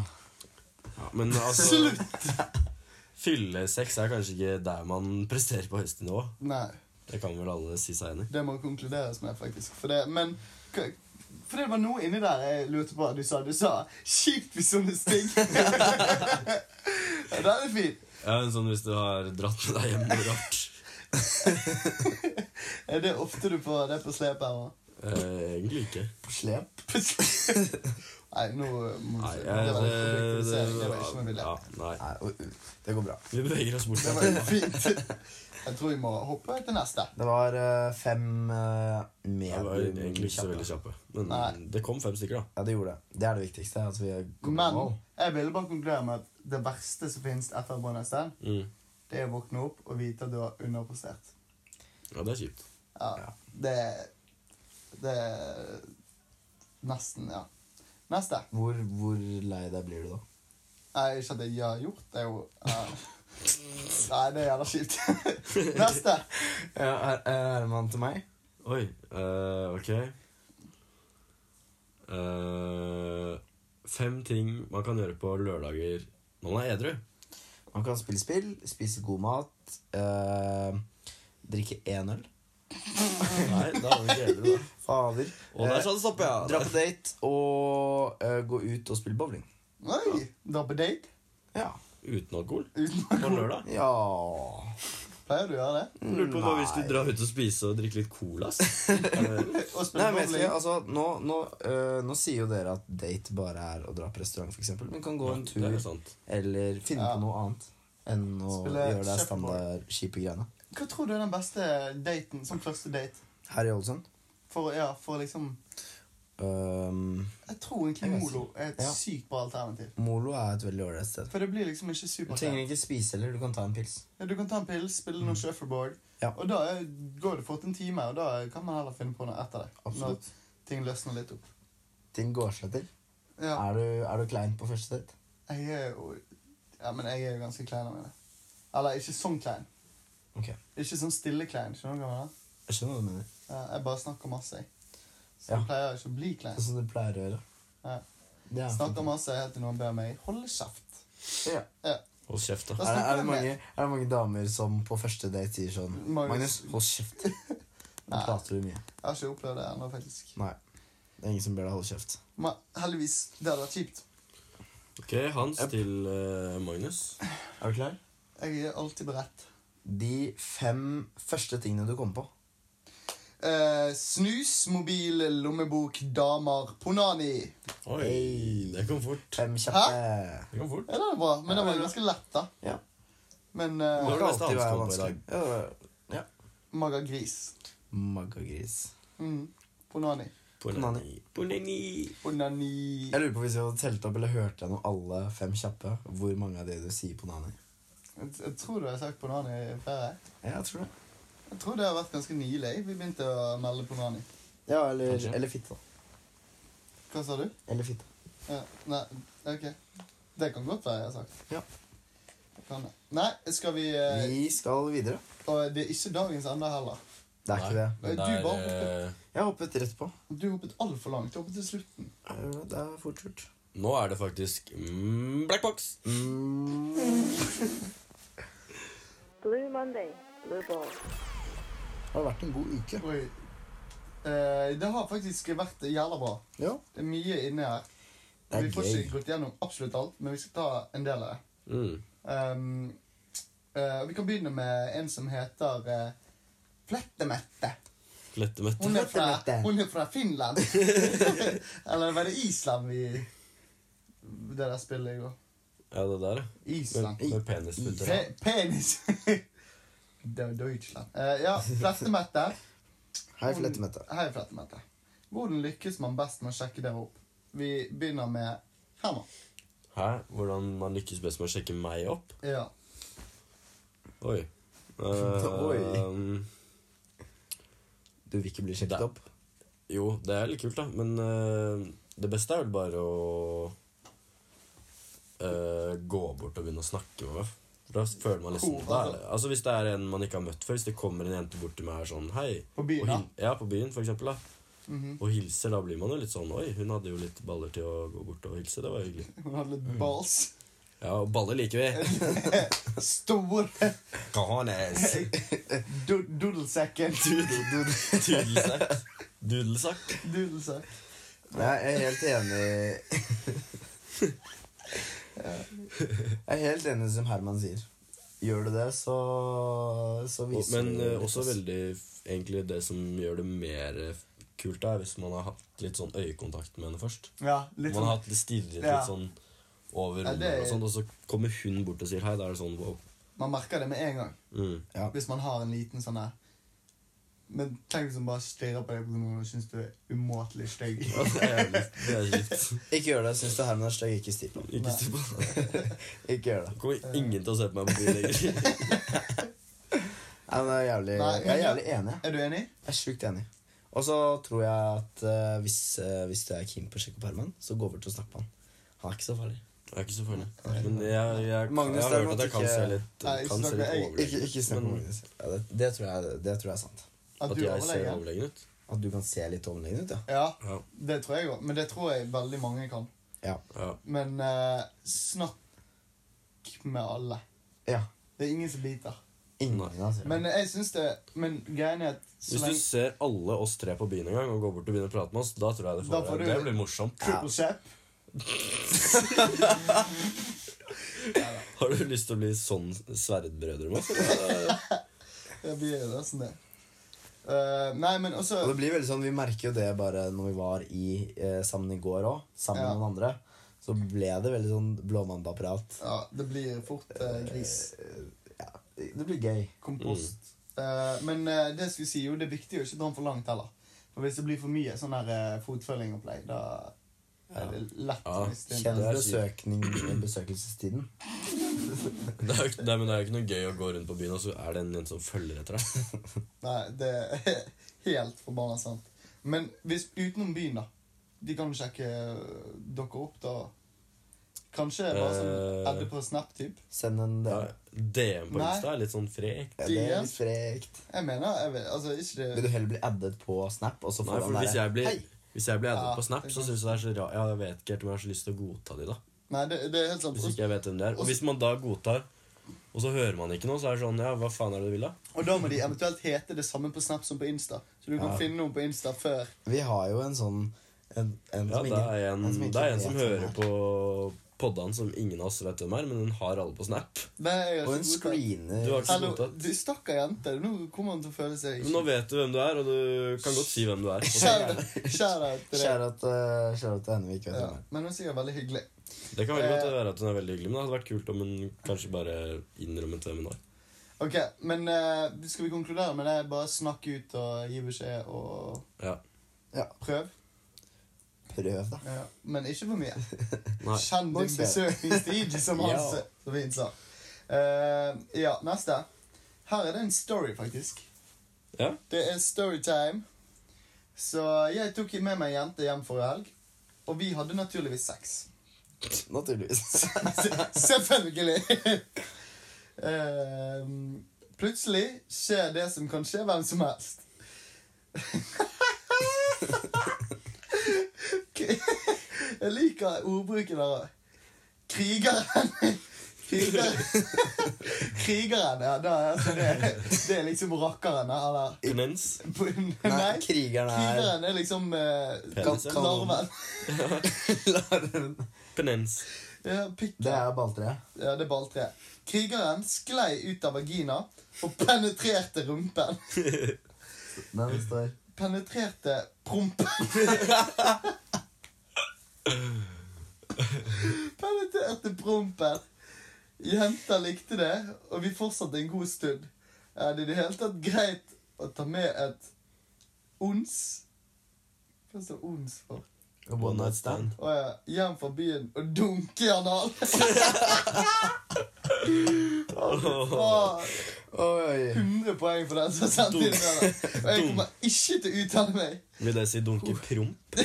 Speaker 4: Men altså
Speaker 3: Slutt!
Speaker 4: Fyllesex er kanskje ikke der man presterer på høyeste nivå.
Speaker 3: Nei.
Speaker 4: Det kan vel alle si seg enig i.
Speaker 3: Det må konkluderes med, faktisk. For det, men k- For det var noe inni der jeg lurte på. Du sa du sa 'kjipt hvis sånne sting'. Den er fin.
Speaker 4: Ja, men sånn hvis du har dratt med deg hjem noe rart.
Speaker 3: Er det ofte du får det på slep her òg?
Speaker 4: Eh, egentlig ikke.
Speaker 2: Slep.
Speaker 3: Nei, nå må
Speaker 4: Nei,
Speaker 3: du Det
Speaker 4: jeg,
Speaker 3: var litt
Speaker 4: det, det,
Speaker 3: objektivisering, det var ikke noe vi
Speaker 4: ja,
Speaker 3: ville.
Speaker 4: nei.
Speaker 2: Nei, og- det går bra.
Speaker 4: Vi beveger oss bort
Speaker 3: Det
Speaker 4: fra
Speaker 3: var fint. Jeg tror vi må hoppe til neste.
Speaker 2: Det var eh, fem uh,
Speaker 4: Jeg var egentlig ikke så veldig
Speaker 2: medium
Speaker 4: kjappe. Men
Speaker 3: Nei.
Speaker 4: det kom fem stykker, da.
Speaker 2: Ja, det gjorde det. Det er det viktigste. At vi kommer i
Speaker 3: Men
Speaker 2: mål.
Speaker 3: jeg ville bare konkludere med at det verste som finnes etter Brønnøysund,
Speaker 4: Mm.
Speaker 3: det er å våkne opp og vite at du har underprestert.
Speaker 4: Ja, det er kjipt.
Speaker 3: Ja, det Det Nesten, ja. Neste.
Speaker 2: Hvor, hvor lei deg blir du da?
Speaker 3: Nei, ikke at jeg har gjort det, jo.
Speaker 2: (laughs)
Speaker 3: Ja. Nei, det er jævla kjipt. (laughs) Neste.
Speaker 2: Er Herman til meg?
Speaker 4: Oi. eh, ok. Eh, fem ting man kan gjøre på lørdager når man er edru.
Speaker 2: Man kan spille spill, spise god mat, eh, drikke én (laughs) øl.
Speaker 4: Nei, da er man ikke edru, da.
Speaker 2: Fader.
Speaker 4: Og der
Speaker 2: Eh,
Speaker 4: sa det stopp, ja.
Speaker 2: dra på date og eh, gå ut og spille bowling.
Speaker 3: Oi! Dra på date?
Speaker 2: Ja.
Speaker 4: Uten alkohol?
Speaker 3: Uten
Speaker 4: På lørdag?
Speaker 2: Ja
Speaker 3: Pleier du å gjøre det?
Speaker 4: Lurer på hva hvis du
Speaker 2: Nei.
Speaker 4: drar ut og spiser og drikker litt cola?
Speaker 3: (laughs)
Speaker 4: ass?
Speaker 3: Og
Speaker 2: Nei,
Speaker 3: spille
Speaker 2: men jeg
Speaker 3: bowling?
Speaker 2: sier, altså, nå, nå, eh, nå sier jo dere at date bare er å dra på restaurant, f.eks. Men kan gå en
Speaker 4: Det er
Speaker 2: tur
Speaker 4: jo sant.
Speaker 2: eller finne
Speaker 3: Ja.
Speaker 2: på noe annet enn å
Speaker 3: Spille
Speaker 2: gjøre det
Speaker 3: shuffleboard.
Speaker 2: standard kjipe greiene.
Speaker 3: Hva tror du er den beste daten som første date?
Speaker 2: Her i Ålesund
Speaker 3: For, ja, for liksom
Speaker 2: ehm,
Speaker 3: Jeg tror egentlig
Speaker 2: Jeg vet
Speaker 3: Molo er et
Speaker 2: Ja.
Speaker 3: sykt bra alternativ.
Speaker 2: Molo er et veldig ålreit sted.
Speaker 3: For det blir liksom ikke
Speaker 2: Du trenger
Speaker 3: superfett.
Speaker 2: ikke spise heller, du kan ta en pils.
Speaker 3: Ja, Du kan ta en pille, spille noe shuffleboard,
Speaker 2: Mm. Ja.
Speaker 3: og da er- går det fort en time. Og da kan man heller finne på noe etter det.
Speaker 2: Absolutt.
Speaker 3: Når ting løsner litt opp.
Speaker 2: Ting går seg til.
Speaker 3: Ja,
Speaker 2: Er, du, er du klein på første date?
Speaker 3: jeg er jo Ja, men jeg er jo ganske klein av mine. Eller ikke sånn klein.
Speaker 2: Ok,
Speaker 3: Ikke sånn stille klein. Skjønner du hva jeg mener?
Speaker 2: Jeg skjønner hva du mener.
Speaker 3: Ja, jeg bare snakker masse, jeg. Så
Speaker 2: Ja.
Speaker 3: jeg pleier ikke å bli klein.
Speaker 2: Sånn som du pleier å gjøre.
Speaker 3: Ja.
Speaker 2: Det er,
Speaker 3: Snakker masse helt til noen ber meg holde kjeft.
Speaker 2: ja.
Speaker 3: Ja.
Speaker 4: Hold kjeft, da.
Speaker 3: Da
Speaker 2: er, det,
Speaker 3: snakker
Speaker 2: er,
Speaker 3: jeg
Speaker 2: det
Speaker 3: mer.
Speaker 2: mange, er det mange damer som på første date sier sånn Magnus,
Speaker 3: Magnus.
Speaker 2: hold kjeft.
Speaker 3: (laughs)
Speaker 2: Nå
Speaker 3: Nei.
Speaker 2: prater du mye.
Speaker 3: Jeg har ikke opplevd det ennå, faktisk.
Speaker 2: Nei. Det er ingen som ber deg holde kjeft.
Speaker 3: Men heldigvis, det hadde vært kjipt.
Speaker 4: Ok, Hans til eh, Magnus.
Speaker 2: Er du klar?
Speaker 3: Jeg er alltid beredt.
Speaker 2: De fem første tingene du kommer på.
Speaker 3: Eh, snus, mobil, lommebok, damer, Ponani.
Speaker 4: Oi,
Speaker 2: Hey.
Speaker 4: det kom fort.
Speaker 2: Fem kjappe.
Speaker 4: Det kom fort.
Speaker 3: Ja, det var bra, men det var jo ganske lett, da.
Speaker 2: Ja.
Speaker 3: Men
Speaker 4: Det
Speaker 3: uh,
Speaker 4: var det beste
Speaker 2: alltid
Speaker 4: Hans
Speaker 2: være
Speaker 4: kom på i dag.
Speaker 2: vanskelig. Ja, det var- Ja.
Speaker 3: Maga Gris.
Speaker 2: Maggagris.
Speaker 3: Mm. Ponani.
Speaker 4: Bonani. Bonani.
Speaker 3: Ponani.
Speaker 2: Jeg lurer på hvis jeg hadde telt opp eller hørt gjennom alle fem kjappe, hvor mange av de du sier på Nani?
Speaker 3: Jeg, jeg tror du har sagt Ponani flere.
Speaker 2: Ja, jeg tror det.
Speaker 3: Jeg tror det har vært ganske nylig vi begynte å melde Ponani.
Speaker 2: Ja, eller,
Speaker 4: Kanskje.
Speaker 2: eller fitte. da.
Speaker 3: Hva sa du?
Speaker 2: Eller fitte.
Speaker 3: Ja, nei, ok. Det kan godt være jeg har sagt.
Speaker 2: Ja.
Speaker 3: Det Kan det. Nei, skal vi eh,
Speaker 2: Vi skal videre.
Speaker 3: Og det er ikke dagens ende heller.
Speaker 2: Det er ikke det.
Speaker 4: Nei,
Speaker 3: Du
Speaker 4: men
Speaker 3: var
Speaker 4: det er, eh,
Speaker 2: Jeg hoppet rett på. Eh,
Speaker 3: Du hoppet altfor langt. Du hoppet til slutten.
Speaker 2: Det er fort gjort.
Speaker 4: Nå er det faktisk mm, black box.
Speaker 1: Blue Monday. Blue Ball.
Speaker 2: Har det vært en god uke?
Speaker 3: Oi. Eh, det har faktisk vært jævla bra.
Speaker 2: Ja.
Speaker 3: Det er mye inni her.
Speaker 2: Det er
Speaker 3: vi får
Speaker 2: gøy.
Speaker 3: ikke gått gjennom absolutt alt, men vi skal ta en del av det.
Speaker 4: Mm.
Speaker 3: Ehm, eh, vi kan begynne med en som heter eh, Flettemette.
Speaker 4: Flettemette.
Speaker 3: Hun er, fra,
Speaker 2: Flettemette.
Speaker 3: hun er fra
Speaker 2: (laughs)
Speaker 3: Finland. Eller var det Island vi Det der spillet i går.
Speaker 4: Ja, det der, ja.
Speaker 3: Island.
Speaker 4: Med, med penisputter.
Speaker 3: Pe penis. (laughs) det var Deutschland. Eh, ja, Flettemette.
Speaker 2: Hei, Flettemette.
Speaker 3: Hei, Flettemette. Hvordan lykkes man best med å sjekke dere opp? Vi begynner med Herman.
Speaker 4: Hæ? Hvordan man lykkes best med å sjekke meg opp?
Speaker 3: Ja.
Speaker 4: Oi. Eh,
Speaker 2: (laughs) Oi. Du vil ikke bli sjekket
Speaker 4: Da-
Speaker 2: opp?
Speaker 4: Jo, det er litt kult, da. Men eh, det beste er vel bare å eh, gå bort og begynne å snakke med meg. Da føler man liksom
Speaker 3: Cool,
Speaker 4: da,
Speaker 3: altså.
Speaker 4: er det- Altså Hvis det er en man ikke har møtt før, hvis det kommer en jente bort til meg og er sånn Hei.
Speaker 3: På byen,
Speaker 4: og
Speaker 3: da?
Speaker 4: hil- Ja, på byen, for eksempel. Da.
Speaker 3: Mhm.
Speaker 4: Og hilser, da blir man jo litt sånn Oi, hun hadde jo litt baller til å gå bort og hilse. Det var hyggelig.
Speaker 3: Hun hadde litt balls.
Speaker 4: Ja, og baller liker
Speaker 3: (laughs)
Speaker 4: vi.
Speaker 3: Stor (laughs)
Speaker 4: Ganes.
Speaker 3: do- doodlesekken.
Speaker 4: Dudelsekk. Dudelsekk.
Speaker 3: Doodlesekk.
Speaker 2: Nei, jeg er helt
Speaker 4: (laughs)
Speaker 2: enig Jeg er helt enig som Herman sier. Gjør du det, så, så
Speaker 4: Og-
Speaker 2: viser
Speaker 4: Men
Speaker 2: du
Speaker 4: eh, også veldig f- egentlig det som gjør det mer eh, kult, er hvis man har hatt litt sånn øyekontakt med henne først.
Speaker 3: Ja, litt
Speaker 4: Man har
Speaker 3: sånn
Speaker 4: hatt det stirret
Speaker 3: Ja.
Speaker 4: litt sånn over
Speaker 3: Ja,
Speaker 4: rommet,
Speaker 3: det er-
Speaker 4: og, sånt, og så kommer hun bort og sier hei. Da er det sånn wow.
Speaker 3: Man merker det med en gang.
Speaker 4: Mm.
Speaker 2: ja.
Speaker 3: Hvis man har en liten sånn her Men tenk hvis man bare stirrer på deg på grunn av at man syns du er umåtelig stygg.
Speaker 4: Ja, (laughs) Det er jævlig- det er kjipt.
Speaker 2: Ikke gjør det. Syns du Herman er stygg, ikke stil på
Speaker 4: Ikke stå på.
Speaker 2: Ikke gjør det.
Speaker 4: Kommer ingen til å se på meg på byen lenger.
Speaker 2: Nei, men jeg, er jævlig,
Speaker 3: Nei,
Speaker 2: jeg er
Speaker 3: men-
Speaker 2: jævlig enig. jeg.
Speaker 3: Er du enig?
Speaker 2: Jeg er sjukt enig. Og så tror jeg at eh, hvis, eh, hvis du er keen på å sjekke opp Herman, så gå bort og snakk med han. Han er ikke så farlig.
Speaker 4: Jeg er ikke så farlig. Men jeg, jeg, jeg,
Speaker 2: Magnus,
Speaker 4: har hørt
Speaker 2: derimot,
Speaker 4: at jeg kan
Speaker 2: ikke-
Speaker 4: se litt,
Speaker 3: Nei, ikke
Speaker 4: kan se
Speaker 3: snakk med-
Speaker 4: litt
Speaker 3: jeg-
Speaker 2: Ikke,
Speaker 4: overlegen ut.
Speaker 2: ikke snakk med
Speaker 4: men
Speaker 2: Magnus. Ja, det, det, tror jeg, det tror jeg er sant.
Speaker 3: At,
Speaker 4: At
Speaker 3: du
Speaker 4: jeg ser
Speaker 3: overlegger?
Speaker 4: overlegen ut?
Speaker 2: At du kan se litt overlegen ut, ja.
Speaker 3: Ja,
Speaker 4: Ja.
Speaker 3: det tror jeg òg. Men det tror jeg veldig mange kan.
Speaker 2: Ja.
Speaker 4: ja.
Speaker 3: Men eh, snakk med alle.
Speaker 2: ja.
Speaker 3: Det er ingen som biter.
Speaker 2: Ingen av
Speaker 3: Men jeg syns det Men greien er at så
Speaker 4: Hvis du
Speaker 3: lenge
Speaker 4: ser alle oss tre på byen en gang og går bort og begynner å prate med oss, da tror jeg det,
Speaker 3: Da
Speaker 4: får,
Speaker 3: får du-
Speaker 4: det blir morsomt.
Speaker 3: Triple Chap
Speaker 4: (laughs) Har du lyst til å bli sånn sverdbrødre
Speaker 3: (laughs)
Speaker 4: med oss? eller?
Speaker 3: Det blir jo nesten det. Eh, nei, men også
Speaker 2: Og det blir veldig sånn, Vi merker jo det bare når vi var i, eh, sammen i går òg, sammen
Speaker 3: Ja.
Speaker 2: med noen andre. Så ble det veldig sånn blåmannapparat.
Speaker 3: Ja, det blir fort eh, gris.
Speaker 2: Ja, det blir gøy.
Speaker 3: Kompost. Eh, men eh, det jeg skulle si, jo, det er viktig å ikke dra den for langt heller. For hvis det blir for mye sånn her eh, fotfølging og play, da er det lett
Speaker 4: Ja.
Speaker 3: å miste inn.
Speaker 2: Kjenn
Speaker 4: Det er
Speaker 2: besøkning, eh, besøkelsestiden.
Speaker 4: Det er jo ikke, nei, men det er jo ikke noe gøy å gå rundt på byen, og så er det en jente som følger
Speaker 3: (laughs)
Speaker 4: etter deg.
Speaker 3: Nei, det er (laughs) helt forbanna sant. Men hvis utenom byen, da. De kan jo sjekke eh, dere opp, da. Kanskje bare sånn
Speaker 4: Eh.
Speaker 3: Edde på Snap-typ.
Speaker 2: Send en
Speaker 4: Ja, (laughs)
Speaker 2: del.
Speaker 4: DM på
Speaker 3: Nei.
Speaker 4: Insta er litt sånn frekt.
Speaker 2: Ja, det er
Speaker 3: DM?
Speaker 2: litt frekt.
Speaker 3: Jeg mener jeg vet, Altså, ikke
Speaker 2: Vil
Speaker 3: det
Speaker 2: du heller bli addet på Snap? Og så
Speaker 4: Nei,
Speaker 2: får
Speaker 4: for
Speaker 2: han
Speaker 4: hvis jeg blir,
Speaker 2: Hei!
Speaker 4: hvis jeg blir addet
Speaker 3: Ja,
Speaker 4: på Snap,
Speaker 3: det
Speaker 4: så
Speaker 3: kan-
Speaker 4: syns jeg det er så rart. Ja, jeg vet ikke helt om jeg har så lyst til å godta de, da.
Speaker 3: Nei, det, det er helt sant.
Speaker 4: Hvis ikke jeg vet hvem det er. Og
Speaker 3: Og-
Speaker 4: hvis man da godtar, og så hører man ikke noe, så er det sånn Ja, hva faen er det du vil, da?
Speaker 3: Og da må de eventuelt hete det samme på Snap som på Insta. Så du kan
Speaker 2: Ja.
Speaker 3: finne noen på Insta før.
Speaker 2: Vi har jo en sånn en, en
Speaker 4: Ja,
Speaker 2: som
Speaker 4: det
Speaker 2: ikke-
Speaker 4: er en,
Speaker 2: ikke
Speaker 4: det er en som
Speaker 2: vet hvem
Speaker 4: hører
Speaker 2: er.
Speaker 4: på poddan som ingen av oss vet hvem er, men hun har alle på Snap.
Speaker 3: Det er
Speaker 2: Og
Speaker 3: jeg så
Speaker 2: en
Speaker 3: god til.
Speaker 2: screener.
Speaker 4: Du har ikke så
Speaker 3: Hallo,
Speaker 4: godtatt.
Speaker 3: du stakkar jente. Nå kommer han til å føle seg
Speaker 4: Men nå vet du hvem du er, og du kan godt si hvem
Speaker 2: (laughs)
Speaker 4: du er. Og så-
Speaker 3: Shout out- shout out til deg.
Speaker 2: Kjære at, eh, kjære at henne vi ikke vet
Speaker 3: Ja,
Speaker 2: hvem er.
Speaker 3: men hun er sikkert veldig hyggelig.
Speaker 4: Det kan veldig
Speaker 2: Eh.
Speaker 4: godt være at hun er veldig hyggelig, men det hadde vært kult om hun kanskje bare innrømmet hvem hun var.
Speaker 3: Ok, men eh, Skal vi konkludere med det? Bare snakk ut og gi beskjed og
Speaker 4: Ja.
Speaker 3: prøv.
Speaker 2: Prøv, da.
Speaker 3: Ja, men ikke for mye.
Speaker 4: Nei.
Speaker 3: Kjenn din
Speaker 2: Nok selv.
Speaker 3: besøkningstid, som han
Speaker 2: Ja.
Speaker 3: så fint sa. Eh, ja, neste. Her er det en story, faktisk.
Speaker 4: Ja.
Speaker 3: Det er storytime. Så jeg tok med meg ei jente hjem forrige helg, og vi hadde naturligvis sex.
Speaker 2: Naturligvis. (laughs)
Speaker 3: Se- Selvfølgelig. Ehm, plutselig skjer det som kan skje hvem som helst. Jeg liker ordbruken der òg. Krigeren Krigeren. Krigeren, ja. Da, altså, det, det er liksom rakkeren, eller
Speaker 4: Penens.
Speaker 3: Nei,
Speaker 2: Nei, krigeren er-
Speaker 3: Krigeren er liksom eh,
Speaker 4: Penisen.
Speaker 3: larven.
Speaker 4: Penens.
Speaker 3: Ja, pikken.
Speaker 2: Det er balltreet.
Speaker 3: Ja, det er balltre. Krigeren sklei ut av vagina og penetrerte rumpen.
Speaker 2: Den står
Speaker 3: Penetrerte prompen. penetrerte prompen. Jenta likte det, og vi fortsatte en god stund. Er det i det hele tatt greit å ta med et ons? Hva står ons for?
Speaker 2: One night stand.
Speaker 3: Og jeg hjem fra byen og dunke i analen. Åh,
Speaker 2: Oi.
Speaker 3: 100 poeng for den som sendte inn den. Og jeg kommer ikke til å uttale meg.
Speaker 4: Vil det si
Speaker 2: Oh.
Speaker 4: dunke promp?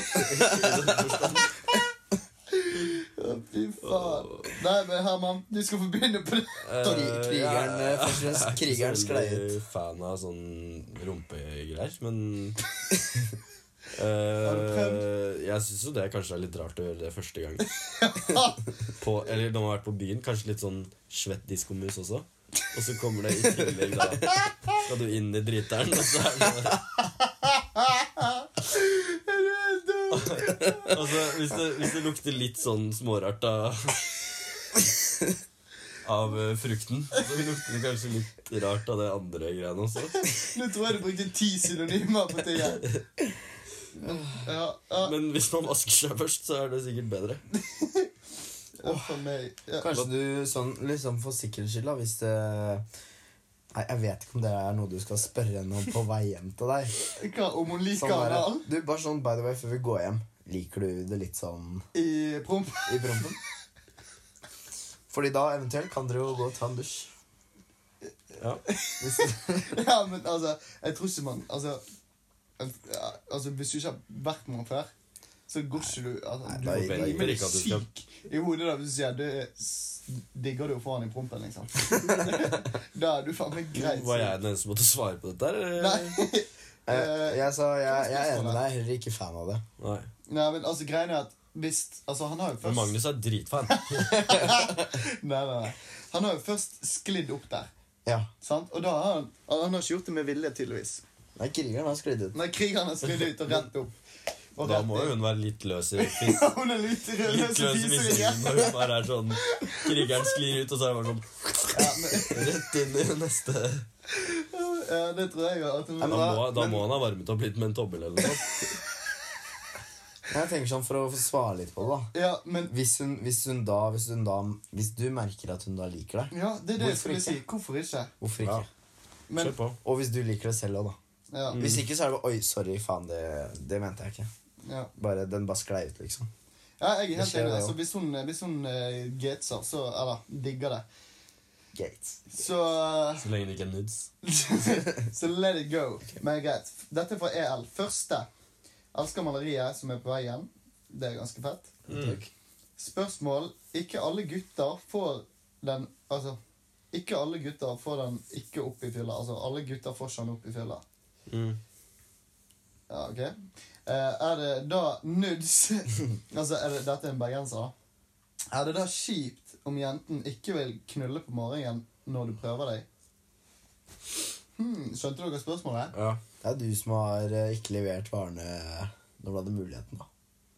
Speaker 3: Å, Fy faen. Nei, men Herman, du skal få begynne på det.
Speaker 2: Kri- Krigeren eh, først og
Speaker 3: (laughs)
Speaker 2: fremst krigeren sklei
Speaker 4: Jeg er
Speaker 2: ut.
Speaker 4: ikke så veldig fan av sånn rumpegreier, men
Speaker 3: du prøvd?
Speaker 4: Eh, Jeg syns jo det kanskje er litt rart å gjøre det første gang. (laughs) På, eller når man har vært på byen. Kanskje litt sånn svett diskomus også. Og så kommer det i tillegg, da. Skal du inn i driteren? Og så er det (laughs) Altså, hvis det, hvis det lukter litt sånn smårart av Av eh, frukten, så lukter det kanskje litt rart av det andre greiene også.
Speaker 3: Nå tror jeg du brukte ti synonymer på tingen. Ja, ja.
Speaker 4: Men hvis man vasker seg først, så er det sikkert bedre.
Speaker 3: Uff a meg. Ja.
Speaker 2: Kanskje du sånn liksom for sikkerhets skyld, da, hvis det Nei, jeg vet ikke om det er noe du skal spørre henne om på vei hjem til deg.
Speaker 3: Hva om hun liker
Speaker 2: Sånn bare,
Speaker 3: analen?
Speaker 2: du, bare sånn, by the way, før vi går hjem, liker du det litt sånn
Speaker 3: I promp?
Speaker 2: i
Speaker 3: (laughs)
Speaker 2: prompen? Fordi da eventuelt kan dere jo gå og ta en dusj.
Speaker 4: Ja.
Speaker 3: (laughs) Ja, men altså, jeg tror ikke man Altså, ja, altså hvis du ikke har vært med noen før, så går ikke du altså,
Speaker 2: Nei,
Speaker 3: Du
Speaker 2: da
Speaker 3: får
Speaker 2: gir
Speaker 4: jeg
Speaker 3: bli
Speaker 4: ikke at du skal-
Speaker 3: syk i hodet da hvis du sier du er s- digger du å få han i prompen,
Speaker 4: (laughs)
Speaker 3: liksom. da er du faen meg greit.
Speaker 4: Var (laughs) jeg den eneste som måtte svare på dette? her, eller?
Speaker 3: Nei.
Speaker 4: Eh,
Speaker 3: (laughs) Eh,
Speaker 2: Jeg, Eh, jeg sa, jeg, jeg er enig med
Speaker 3: spørsmålet?
Speaker 2: deg, jeg er heller ikke fan av det.
Speaker 4: Nei.
Speaker 3: Nei, men altså, greia er at hvis Altså, han har jo
Speaker 4: Men
Speaker 3: først
Speaker 4: Magnus er dritfan.
Speaker 3: (laughs) Nei, nei, nei. Han har jo først sklidd opp der,
Speaker 2: Ja,
Speaker 3: sant? Og da har han Han har ikke gjort det med vilje, tydeligvis.
Speaker 2: Nei, krigeren har sklidd ut.
Speaker 3: Nei, krigeren har sklidd ut og rett opp. Og
Speaker 4: Da
Speaker 3: rett
Speaker 4: må
Speaker 3: inn.
Speaker 4: jo hun være litt løs i fis.
Speaker 3: Ja, hun er litt rød,
Speaker 4: Litt
Speaker 3: så
Speaker 4: løs i
Speaker 3: fiser igjen.
Speaker 4: fisken når hun bare er sånn Krigeren sklir ut, og så er hun bare sånn (laughs) Rett inn i neste
Speaker 3: Ja, det tror jeg jo. At hun...
Speaker 2: Nei,
Speaker 4: Da
Speaker 2: men
Speaker 4: må, da
Speaker 2: men-
Speaker 4: må han ha varmet opp litt med en tommel eller noe.
Speaker 2: Jeg tenker sånn for å få svare litt på det, da.
Speaker 3: Ja, men
Speaker 2: Hvis hun, hvis hun da Hvis hun da Hvis du merker at hun da liker deg,
Speaker 3: ja, det er det
Speaker 2: Hvorfor
Speaker 3: jeg skulle
Speaker 2: ikke?
Speaker 3: si. Hvorfor ikke?
Speaker 2: hvorfor ikke?
Speaker 4: Ja.
Speaker 3: Men,
Speaker 4: Kjør på. Mm.
Speaker 2: Og hvis du liker det selv òg, da.
Speaker 3: ja,
Speaker 2: Hvis ikke, så er det bare Oi, sorry, faen, det, det mente jeg ikke.
Speaker 3: ja.
Speaker 2: Bare, Den bare sklei ut, liksom.
Speaker 3: ja, jeg er
Speaker 2: Det
Speaker 3: helt
Speaker 2: skjer
Speaker 3: enig.
Speaker 2: det
Speaker 3: Altså,
Speaker 2: jo.
Speaker 3: hvis hun, hvis hun eh, gateser, så Eller digger det,
Speaker 2: Gates.
Speaker 3: så eh,
Speaker 4: Så lenge det ikke er nudes.
Speaker 3: Så let it go. Men greit. Dette er fra EL. Første. Elsker maleriet som er på vei hjem. Det er ganske fett.
Speaker 4: Takk.
Speaker 3: Spørsmål. Ikke alle gutter får den Altså ikke alle gutter får den ikke opp i fylla. Altså, alle gutter får ikke den opp i fylla.
Speaker 4: Mm.
Speaker 3: Ja, ok. Eh, er det da nudes (laughs) Altså, er det, dette er en bergenser, da. Er det da kjipt om jenten ikke vil knulle på morgenen når du prøver deg? Hmm, skjønte dere spørsmålet?
Speaker 4: Ja.
Speaker 2: Det er du som har eh, ikke levert varene eh, når du hadde muligheten, da.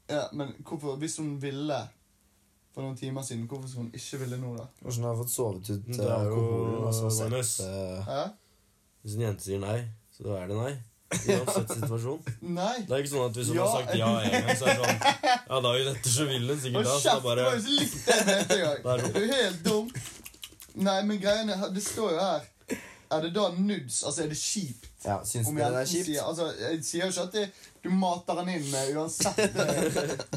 Speaker 3: Ja, men hvorfor, hvis hun ville for noen timer siden, hvorfor skulle hun ikke ville nå, da?
Speaker 2: Hvordan har du fått sovet ut
Speaker 4: Mm, Det
Speaker 2: eh,
Speaker 4: er jo
Speaker 2: alkoholen og så sett
Speaker 4: Magnus.
Speaker 2: eh,
Speaker 3: Hæ?
Speaker 4: Hvis en jente sier nei, så da er det nei. Uansett situasjon.
Speaker 3: Nei!
Speaker 4: Det er ikke sånn at hvis hun
Speaker 3: Ja.
Speaker 4: har sagt ja en gang, så er det sånn Ja, dagen etter så vil hun
Speaker 3: Hold
Speaker 4: sikkert da, så da
Speaker 3: kjeft! Det
Speaker 4: bare
Speaker 3: var jo ikke likt det neste
Speaker 4: Da er
Speaker 3: gang.
Speaker 4: det-
Speaker 3: Du er helt dum. Nei, men greiene her- Det står jo her Er det da nudes? Altså, er det kjipt?
Speaker 2: Ja, syns
Speaker 3: Om
Speaker 2: dere det
Speaker 3: jenten
Speaker 2: er kjipt?
Speaker 3: sier Altså, jeg sier jo ikke at det, du mater han inn med uansett. Det,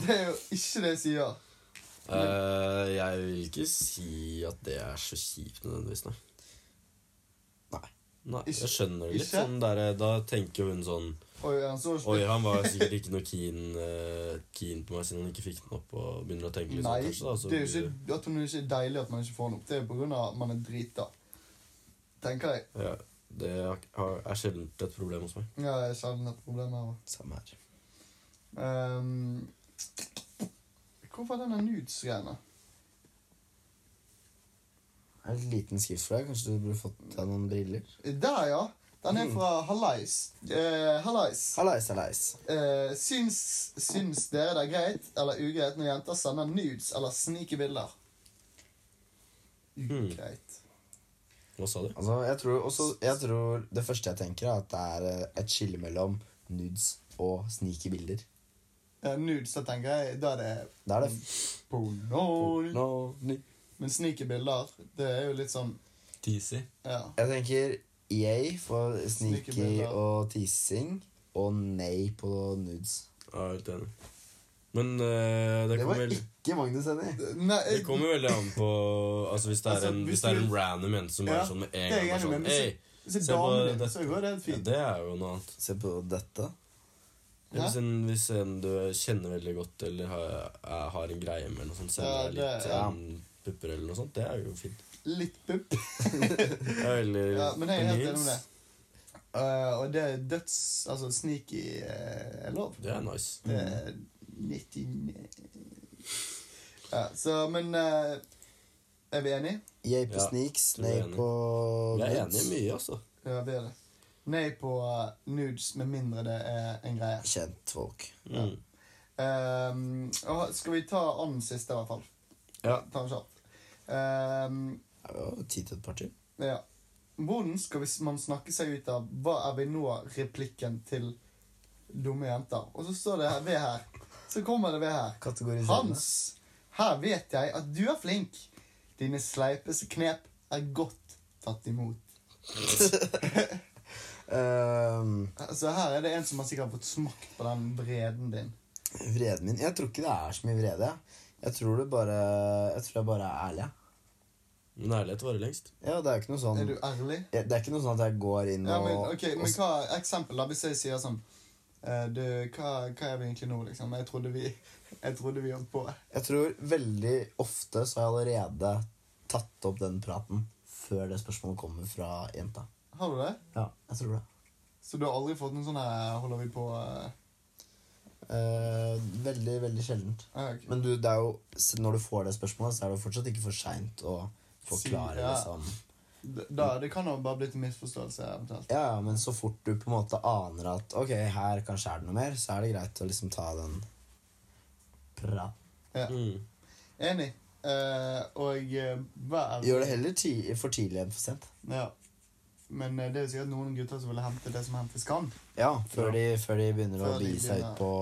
Speaker 3: det er jo ikke det jeg sier.
Speaker 4: eh, Jeg vil ikke si at det er så kjipt nødvendigvis, nei.
Speaker 2: Nei.
Speaker 4: Nei, jeg skjønner det litt.
Speaker 3: Ikke?
Speaker 4: Sånn der, da tenker jo hun sånn
Speaker 3: Oi, han så
Speaker 4: Oi,
Speaker 3: ikke
Speaker 4: han var sikkert ikke noe keen, eh, keen på meg siden han ikke fikk den opp. Og begynner å tenke litt
Speaker 3: Nei,
Speaker 4: sånn, kanskje. Da, så
Speaker 3: det er jo ikke at hun ikke er deilig at man ikke får den opp. Det er jo på grunn av at man er drita. Tenker jeg.
Speaker 4: ja, Det har- er sjelden et problem hos meg.
Speaker 3: Ja, jeg kjenner et problem her òg.
Speaker 2: Samme her.
Speaker 3: Um, hvorfor er denne nudes-greiene?
Speaker 2: Det er en liten skrift for deg. Kanskje du burde fått deg noen briller?
Speaker 3: Der, ja. Den er fra Hallais. Eh, Hallais.
Speaker 2: Hallais, hallais.
Speaker 3: Eh, syns, syns dere det er greit eller ugreit når jenter sender nudes eller sniker bilder?
Speaker 2: Hmm.
Speaker 3: Ugreit.
Speaker 4: Hva sa du?
Speaker 2: Altså, jeg tror, også, jeg tror Det første jeg tenker, er at det er eh, et skille mellom nudes og sneaky bilder.
Speaker 3: Eh, nudes, da tenker jeg Da er det
Speaker 2: Da er det
Speaker 3: porno.
Speaker 2: no, ny.
Speaker 3: Men sniker bilder, det er jo litt sånn
Speaker 4: Teasy.
Speaker 3: Ja.
Speaker 2: Jeg tenker yay for
Speaker 3: Sneaky
Speaker 2: sneaky
Speaker 3: bilder.
Speaker 2: og teasing, og nei på nudes.
Speaker 4: Jeg er helt enig. Men eh, det,
Speaker 2: Det
Speaker 4: kommer
Speaker 2: var
Speaker 4: vel,
Speaker 2: ikke Magnus enig i.
Speaker 3: Nei,
Speaker 4: det kommer veldig an på altså, hvis, det er
Speaker 3: Altså,
Speaker 4: en,
Speaker 3: hvis
Speaker 4: hvis det er
Speaker 3: du-
Speaker 4: en random jente som
Speaker 3: Ja,
Speaker 4: er sånn med en
Speaker 3: det er
Speaker 4: gang
Speaker 3: jeg
Speaker 4: bare
Speaker 3: enig med,
Speaker 4: sånn
Speaker 3: men så-
Speaker 4: Hei,
Speaker 3: hvis det
Speaker 4: se
Speaker 3: er
Speaker 4: på
Speaker 3: damen din,
Speaker 4: dette.
Speaker 3: så går det helt
Speaker 4: ja,
Speaker 3: fint.
Speaker 4: det er jo noe annet.
Speaker 2: Se på dette.
Speaker 4: Men Hvis
Speaker 3: Hæ?
Speaker 4: en, hvis en du kjenner veldig godt, eller har, er- har en greie med, eller noe sånt,
Speaker 3: Ja,
Speaker 4: sender deg
Speaker 3: det-
Speaker 4: litt
Speaker 3: ja.
Speaker 4: em, pupper eller noe sånt, det er jo fint.
Speaker 3: Litt pupp.
Speaker 4: Eller
Speaker 3: Ja, men jeg er helt enig
Speaker 4: reels.
Speaker 3: med det. Eh, og det er døds Altså sneaky eh, er lov.
Speaker 4: Det er nice.
Speaker 3: Det er 99 ja, Så, men eh, Er vi enige?
Speaker 2: Yay på
Speaker 4: Ja,
Speaker 2: sneaks,
Speaker 4: tror
Speaker 2: nei
Speaker 4: jeg er enig.
Speaker 2: på
Speaker 4: Jeg er enig
Speaker 2: nudes.
Speaker 4: i mye, altså.
Speaker 3: Ja, vi er det. Nei på eh, nudes, med mindre det er en greie.
Speaker 2: Kjentfolk.
Speaker 4: Mm.
Speaker 3: Ehm, og skal vi ta den siste, i hvert fall?
Speaker 4: Ja.
Speaker 3: Ta den kjapt. Ehm,
Speaker 2: Det er jo tid til et parti.
Speaker 3: ja. Hvordan skal vi, man snakke seg ut av 'Hva er vi nå?'-replikken til dumme jenter? Og så står det her, ved her. Så kommer det ved her.
Speaker 2: Kategoriserende.
Speaker 3: Hans, her vet jeg at du er flink. Dine sleipeste knep er godt tatt imot.
Speaker 2: Ehm,
Speaker 3: Altså Her er det en som har sikkert fått smakt på den vreden din.
Speaker 2: vreden min Jeg tror ikke det er så mye vrede. jeg. Jeg tror det bare Jeg tror jeg bare er ærlig. jeg.
Speaker 4: Men ærlighet varer lengst.
Speaker 2: Ja, det er jo ikke noe sånn
Speaker 3: Er du ærlig?
Speaker 2: Ja, Det er ikke noe sånn at jeg går inn og
Speaker 3: Ja, men, ok,
Speaker 2: og
Speaker 3: men
Speaker 2: s-
Speaker 3: hva eksempel, da, hvis jeg sier sånn eh, Du, hva, hva er vi egentlig nå, liksom? Jeg trodde vi Jeg trodde vi holdt på.
Speaker 2: Jeg tror veldig ofte så har jeg allerede tatt opp den praten før det spørsmålet kommer fra jenta.
Speaker 3: Har du det?
Speaker 2: Ja, jeg tror det.
Speaker 3: Så du har aldri fått noen sånn her Holder vi på eh,
Speaker 2: Eh, veldig, veldig sjeldent.
Speaker 3: ah, ok.
Speaker 2: Men du, det er jo, s- når du får det spørsmålet, så er det jo fortsatt ikke for seint å forklare,
Speaker 3: Si- ja.
Speaker 2: liksom.
Speaker 3: da, Det kan jo bare blitt en misforståelse, eventuelt.
Speaker 2: Ja, ja, men så fort du på en måte aner at ok, her kanskje er det noe mer, så er det greit å liksom ta den praten.
Speaker 3: Ja.
Speaker 4: Mm.
Speaker 3: Enig. Eh, og eh, vær ærlig.
Speaker 2: Gjør det heller ti for tidlig enn for sent.
Speaker 3: Ja. Men eh, det er jo sikkert noen gutter som vil hente det som hentes kan.
Speaker 2: Ja, før, De, før de begynner
Speaker 3: Før
Speaker 2: å
Speaker 3: de
Speaker 2: begi seg
Speaker 3: begynner.
Speaker 2: ut på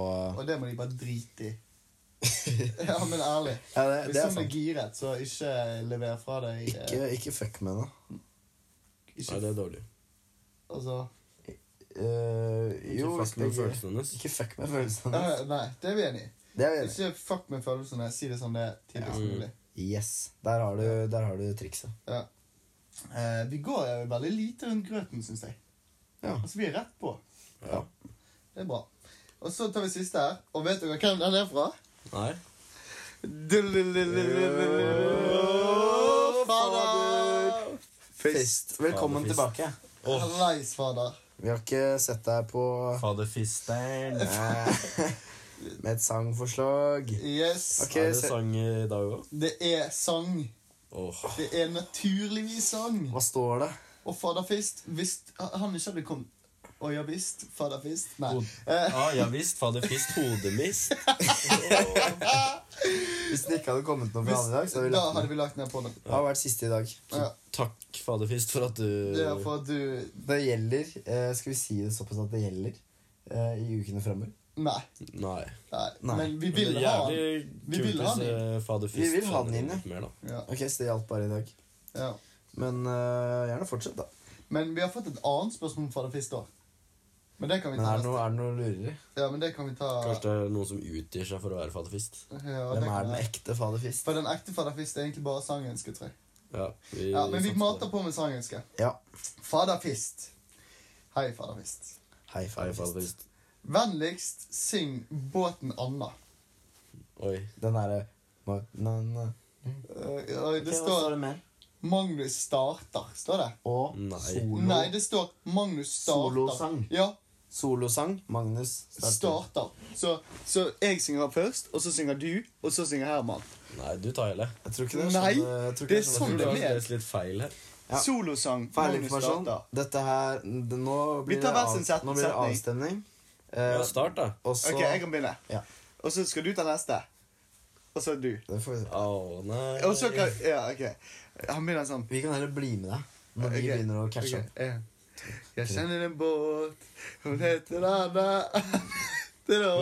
Speaker 3: Og det må de bare drite i.
Speaker 2: (laughs)
Speaker 3: ja, men ærlig.
Speaker 2: Ja, det,
Speaker 3: Hvis
Speaker 2: det er
Speaker 3: noen er
Speaker 2: sant.
Speaker 3: giret, så ikke lever fra deg eh,
Speaker 2: Ikke, ikke fuck med det.
Speaker 4: Nei,
Speaker 3: ikke
Speaker 4: det er dårlig.
Speaker 3: Altså
Speaker 2: Eh,
Speaker 4: Ikke
Speaker 2: jo,
Speaker 4: fuck med
Speaker 2: ikke,
Speaker 4: følelsene hennes.
Speaker 2: ikke fuck med følelsene.
Speaker 3: eh, Nei, det er vi enig i.
Speaker 2: Det er vi enige
Speaker 3: Ikke fuck med følelsene. Si det som det er tidligst
Speaker 4: Ja.
Speaker 3: mulig.
Speaker 2: i. Yes. Der har du, der har du trikset.
Speaker 3: Ja. Eh, vi går eh, veldig lite rundt grøten, syns jeg.
Speaker 2: Ja.
Speaker 3: Altså, vi er rett på.
Speaker 4: Ja.
Speaker 3: Det er bra. Og så tar vi siste her. Og vet dere hvem den er fra?
Speaker 4: Nei.
Speaker 3: Å, Fader!
Speaker 2: Fist. Velkommen
Speaker 4: Fader, fist.
Speaker 2: tilbake.
Speaker 3: Hallais, fader.
Speaker 2: Vi har ikke sett deg på (laughs)
Speaker 4: Faderfisteren.
Speaker 2: eh, med et sangforslag.
Speaker 3: Yes.
Speaker 2: Ok,
Speaker 4: Er det
Speaker 2: se-
Speaker 4: sang i dag òg?
Speaker 3: Det er sang.
Speaker 4: Åh.
Speaker 3: Det er naturligvis sang.
Speaker 2: Hva står det?
Speaker 3: Og fader Fist Hvis han ikke hadde kommet Å ja visst, fader Fist Nei.
Speaker 4: Hod-
Speaker 3: Eh,
Speaker 4: Ah, Ja, ja visst. Faderfist, hodemist.
Speaker 2: Hvis det ikke hadde kommet noe fra
Speaker 3: hvis,
Speaker 2: andre i dag, så hadde vi
Speaker 3: da
Speaker 2: lagt
Speaker 3: hadde
Speaker 2: det.
Speaker 3: vi lagt ned på den.
Speaker 2: Det har vært siste i dag.
Speaker 3: Ja,
Speaker 4: Takk, faderfist, for at
Speaker 3: det er
Speaker 4: du
Speaker 3: for at du
Speaker 2: Det gjelder eh, Skal vi si det såpass at det gjelder eh, i ukene framover?
Speaker 3: Nei.
Speaker 4: Nei.
Speaker 3: nei.
Speaker 2: Nei.
Speaker 3: Men vi
Speaker 4: Men
Speaker 3: vil
Speaker 4: det er
Speaker 3: ha den.
Speaker 4: jævlig
Speaker 3: Vi
Speaker 4: kult
Speaker 3: vil ha
Speaker 4: hvis,
Speaker 3: den.
Speaker 4: eh, Faderfist
Speaker 2: Vi vil ha
Speaker 4: faller
Speaker 2: den
Speaker 4: inn
Speaker 2: inn,
Speaker 4: litt mer, da.
Speaker 3: Ja,
Speaker 2: Ok, så det hjalp bare i dag.
Speaker 3: ja.
Speaker 2: Men eh, gjerne fortsett, da.
Speaker 3: Men vi har fått et annet spørsmål om fader Fist òg. Men det kan vi
Speaker 2: Men
Speaker 3: ta
Speaker 2: er det noe,
Speaker 3: neste.
Speaker 2: er det noe lurere?
Speaker 3: Ja, men det kan vi ta
Speaker 4: Kanskje det er noen som utgir seg for å være faderfist.
Speaker 3: ja, det
Speaker 2: Hvem
Speaker 3: kan
Speaker 2: er den
Speaker 3: vi-
Speaker 2: ekte faderfist?
Speaker 3: For den ekte fader Fist er egentlig bare sangenske, tror jeg.
Speaker 4: Ja, vi,
Speaker 3: Ja, men vi
Speaker 4: satser
Speaker 3: mater
Speaker 4: det.
Speaker 3: på med sangenske.
Speaker 2: Ja.
Speaker 3: Fader Fist. Hei, fader Fist.
Speaker 2: Hei,
Speaker 4: Hei,
Speaker 2: faderfist.
Speaker 4: faderfist.
Speaker 3: Vennligst syng 'Båten Anna'.
Speaker 4: Oi.
Speaker 2: Den derre Ma- na- na.
Speaker 3: Eh, og
Speaker 2: Ok,
Speaker 3: det
Speaker 2: hva
Speaker 3: står
Speaker 2: det mer?
Speaker 3: Magnus starter, står det.
Speaker 2: Og
Speaker 4: Nei.
Speaker 2: solo.
Speaker 3: Nei, det står Magnus starter.
Speaker 2: Solosang.
Speaker 3: Ja,
Speaker 2: Solosang. Magnus starter.
Speaker 3: starter. Så, så jeg synger først, og så synger du, og så synger Herman.
Speaker 4: Nei, du tar hele.
Speaker 2: Jeg tror ikke det er
Speaker 5: Nei,
Speaker 2: sånn jeg tror ikke
Speaker 5: det er
Speaker 2: sånn
Speaker 4: Du
Speaker 5: sånn
Speaker 4: har
Speaker 5: det er.
Speaker 4: lest litt feil her.
Speaker 2: Ja.
Speaker 5: Solosang. Magnus
Speaker 2: Feilinformasjon.
Speaker 5: starter.
Speaker 2: Dette her det, Nå blir
Speaker 5: Vi tar
Speaker 2: det,
Speaker 5: hver sin set-
Speaker 2: av, nå blir det
Speaker 5: setning.
Speaker 2: avstemning.
Speaker 4: Ja,
Speaker 2: Eh,
Speaker 4: start, da.
Speaker 2: og så
Speaker 5: Ok, jeg kan begynne.
Speaker 2: Ja.
Speaker 5: Og så skal du ta neste. Og så du.
Speaker 2: det får vi, se.
Speaker 4: Å, nei
Speaker 5: Og så kan Ja, OK. Han begynner sånn.
Speaker 2: vi kan heller bli med deg når vi
Speaker 5: Ok,
Speaker 2: begynner å
Speaker 5: ok,
Speaker 2: catche opp.
Speaker 5: en. Jeg kjenner eh. en båt, hun heter Anna. (laughs) Det er nå.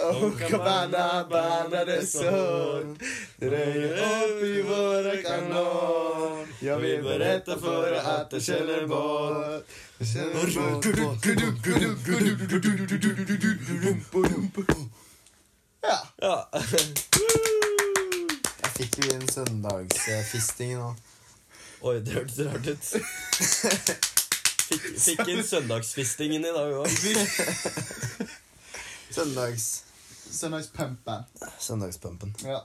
Speaker 5: Oh, cabana, bana de sol. Drøyer opp i våre kanon. Ja, vi er beredte for at det skjeller båt. Det skjeller båt. Ja.
Speaker 4: Ja. (laughs)
Speaker 2: Jeg fikk jo inn søndagsfisting nå.
Speaker 4: Oi, det hørtes rart ut. Fikk, fikk inn søndagsfistingen i dag òg.
Speaker 2: Søndags,
Speaker 3: Søndagspumpen.
Speaker 2: søndagspumpen.
Speaker 3: Ja.